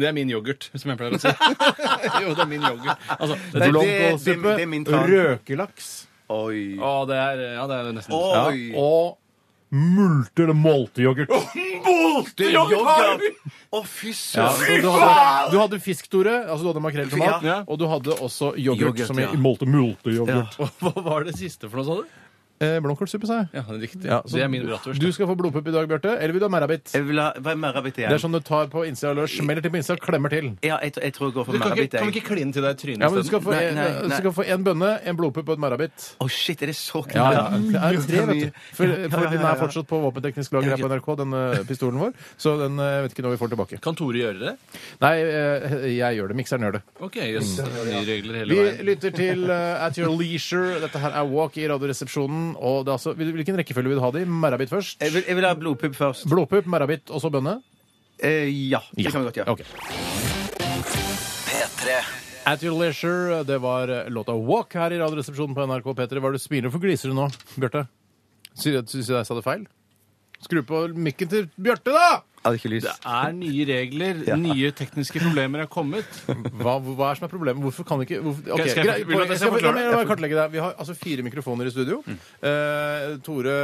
Det er min yoghurt, som jeg pleier å si. jo, det er min yoghurt. Altså, det,
det-
Blomkålsuppe,
det- det er min tran.
røkelaks
Oi.
å, det er, ja, det er nesten
ja,
Oi.
og multe- eller molteyoghurt.
Det er yoghurt! Å, fy
Ja,
søren!
så du, hadde, du hadde fisk, Tore. Altså, du hadde makrell i tomat.
Ja.
Og du hadde også yoghurt,
Yoghurt,
som i
ja.
molte multe yoghurt.
Hva var det siste for noe, sa du?
Eh, Blomkålsuppe, sa jeg.
Ja, det er riktig.
Ja, så
det er min bratwurst.
Du skal få blodpupp i dag, Bjarte. Eller vil du ha merabit?
Jeg vil ha hva er merrabitt
Det
igjen.
er sånn du tar på innsida eller smeller til på innsida og klemmer til.
Ja, jeg, jeg tror jeg går
Du
for
kan, ikke,
merrabitt.
kan
jeg.
vi ikke kline til deg i trynet
Ja, men du skal få,
Nei,
en,
nei, nei.
du skal få en bønne, en blodpupp og et merabit.
Å, shit, er det så
Ja,
knall?
ja. Det er tre, vet du. For, for den
ja,
er
ja.
fortsatt på våpenteknisk lager her på NRK, den eh, pistolen vår. Så den eh, vet ikke når vi får tilbake.
Kan Tore gjøre det?
Nei, eh, jeg gjør det. Mikseren gjør det.
Ok, jøss. det er Nye regler hele
Vi
veien.
lytter til eh, At Your Leisure. Dette her er Walk i Radioresepsjonen. Og det er altså, vil- hvilken rekkefølge vil du ha det i? Merabit først?
Jeg vil, jeg vil ha blodpupp først.
Blodpupp, merabit og så bønne?
Eh, ja, det kan vi godt gjøre.
Ok.
P3.
At
At Your Leisure. Det var låta Walk her i Radioresepsjonen på NRK P3. Hva er det du smiler for? Gliser du nå, Bjarte? Sier du at syns jeg sa det feil? Skru på mikken til Bjarte, da!
Hadde ikke lyst.
er nye regler, nye tekniske problemer er kommet.
Hva, hva er som er problemet? Hvorfor kan ikke hvorfor, ok,
Skal jeg- skal jeg-
greit,
vil du at jeg skal
skal-
forklare
la meg- la meg kartlegge det. Vi har altså fire mikrofoner i studio. Eh, Tore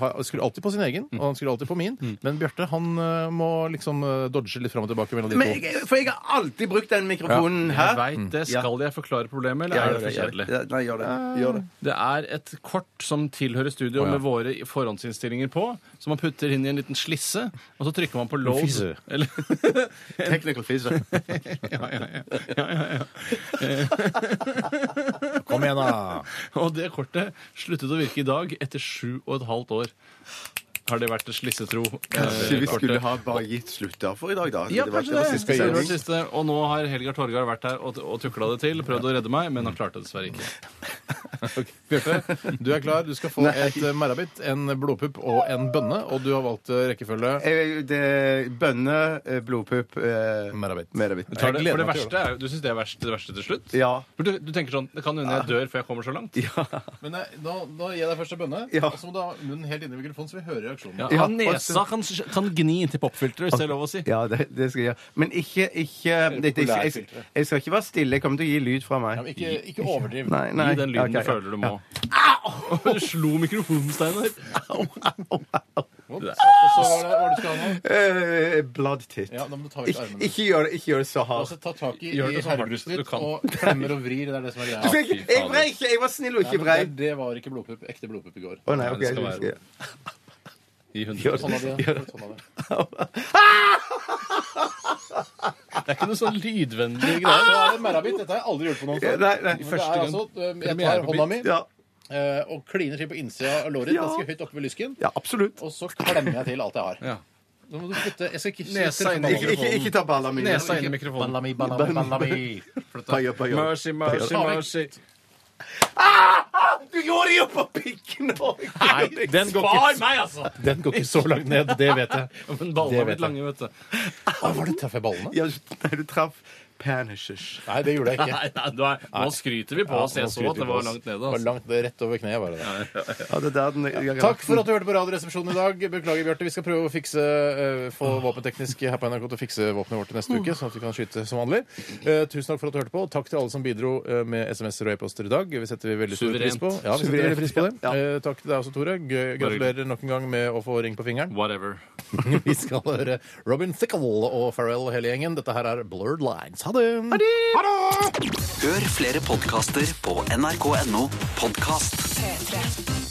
har, skrur alltid på sin egen, og han skrur alltid på min. Men Bjarte han eh, må liksom eh, dodge litt fram og tilbake mellom de
Men
to.
jeg, for jeg har alltid brukt den mikrofonen
Jeg
her.
veit det. Skal jeg forklare problemet, eller
Ja,
er
gjør
det for
gjør
kjedelig?
Ja, Nei, gjør det. Gjør det.
Det er et kort som tilhører studio
Å, ja.
med våre forhåndsinnstillinger på, som man putter inn i en liten slisse, og så trykker man på load.
fisse.
Eller,
Technical fizzer.
ja, ja, ja. Ja, ja, ja.
Kom igjen, da!
Og det kortet sluttet å virke i dag etter sju og et halvt år. Har det vært et slissetro? eh,
Kanskje vi
kortet?
skulle ha bare gitt slutter for i dag, da.
Ja,
Det var- det
kanskje
var
det.
siste
Det var
sending.
siste. Og nå har Helgar Torgard vært her og, og tukla det til, prøvd å redde meg, men han klarte det dessverre ikke.
Bjarte, du er klar. Du skal få
Nei.
et eh, merrabitt, en blodpupp og en bønne. Og du har valgt eh, rekkefølge.
Eh, det- Bønne, eh, blodpupp eh,
Merabit.
Merabit.
Du tar det,
gleder
for det
meg til å
verste er, jo- du syns det er verst, det verste til slutt?
Ja.
For du, du tenker sånn Det kan hende jeg dør før jeg kommer så langt.
Men nei, da, da gir jeg deg først en bønne,
Ja.
og så må du ha munnen helt inni mikrofonen, så vi hører reaksjonen.
Ja,
Ja,
han nesa kan, kan gni inntil popfilteret, hvis det er lov å si.
Ja, det, det skal jeg gjøre. Men ikke, ikke det, det, jeg, jeg, jeg skal ikke være stille. Jeg kommer til å gi lyd fra meg.
Ja, men ikke, ikke overdriv.
Nei, nei.
Gi den
Ok,
lyden
ja.
du føler du må. Au! Du slo mikrofonen, Steinar.
Og så var det hva du skal ha nå.
Eh, blood tit.
Ja, da må du ta vekk
Ikke,
armene.
ikke, gjør det, ikke gjør det så
Og
hardt.
Altså,
så ta tak i,
Gjør
i
det så hardt
herrebrystet
du
ditt
kan.
og klemmer og vrir. Det er det som er greia.
Jeg, jeg vrei ikke! Jeg var snill og
Nei,
ikke
men
vrei.
det, det var ikke blodpupp. Ekte blodpupp i går.
Å nei, ok.
det skal
jeg
være-
husker.
I hundre
Gjør
Sånn
det.
er det. Sånn er det.
Det er ikke noe sånn lydvennlig
Så
greie.
er det merrabit. Dette har jeg aldri gjort på noen
Ja,
før.
Nei, nei.
Men det
Første
er
gang.
altså, eh, jeg tar hånda mi
Ja,
eh, og kliner til på innsida av låret,
Ja.
ganske høyt oppe ved lysken,
ja absolutt.
og så klemmer jeg til alt jeg har.
Ja.
Nå må du slutte. Jeg skal ikke
Nesa inn i
Ikke-
Ikke, ikke, ikke ta balla mi.
Nesa inn i mikrofonen.
Ballami, ballami, ballami. Flytt deg.
Bayer, bayer.
Mercy, mercy, mercy.
Ah, Du gjorde det jo på pikken òg!
Nei, den går,
Spar
ikke,
meg, altså!
den går ikke så langt ned, det vet jeg.
Ja, Men
Det
ballene er
vet
blitt lange, vet du.
Ah, var det traff jeg ballene?
Ja, nei, du traff panishes.
Nei, det gjorde jeg ikke.
Nei, nei, du er, nå skryter vi på oss.
Ja, nå
Jeg så at
skryter
det
vi på
var
oss.
langt nede.
Det var
Altså.
langt ned, rett over kneet var det.
Ja, det der den, jeg,
Takk for at du hørte på Radioresepsjonen i dag. Beklager, Bjarte. Vi skal prøve å fikse, eh, få våpenteknisk her på NRK til å fikse våpenet vårt til neste uke, sånn at vi kan skyte som vanlig. Eh, tusen takk for at du hørte på. Takk til alle som bidro eh, med SMS-er og e-poster i dag. Vi setter vi veldig stor
Suverent.
pris på. Ja, vi setter
Suverent,
veldig pris på det.
ja.
Eh, takk til deg også, Tore. Gøy- Gratulerer nok en gang med å få ring på fingeren.
Whatever.
Vi skal høre Robin Thickel og Pharrell og hele gjengen. Dette her er Blurred Lines. Ha det!
Hør flere podkaster på nrk.no podkast.
P3.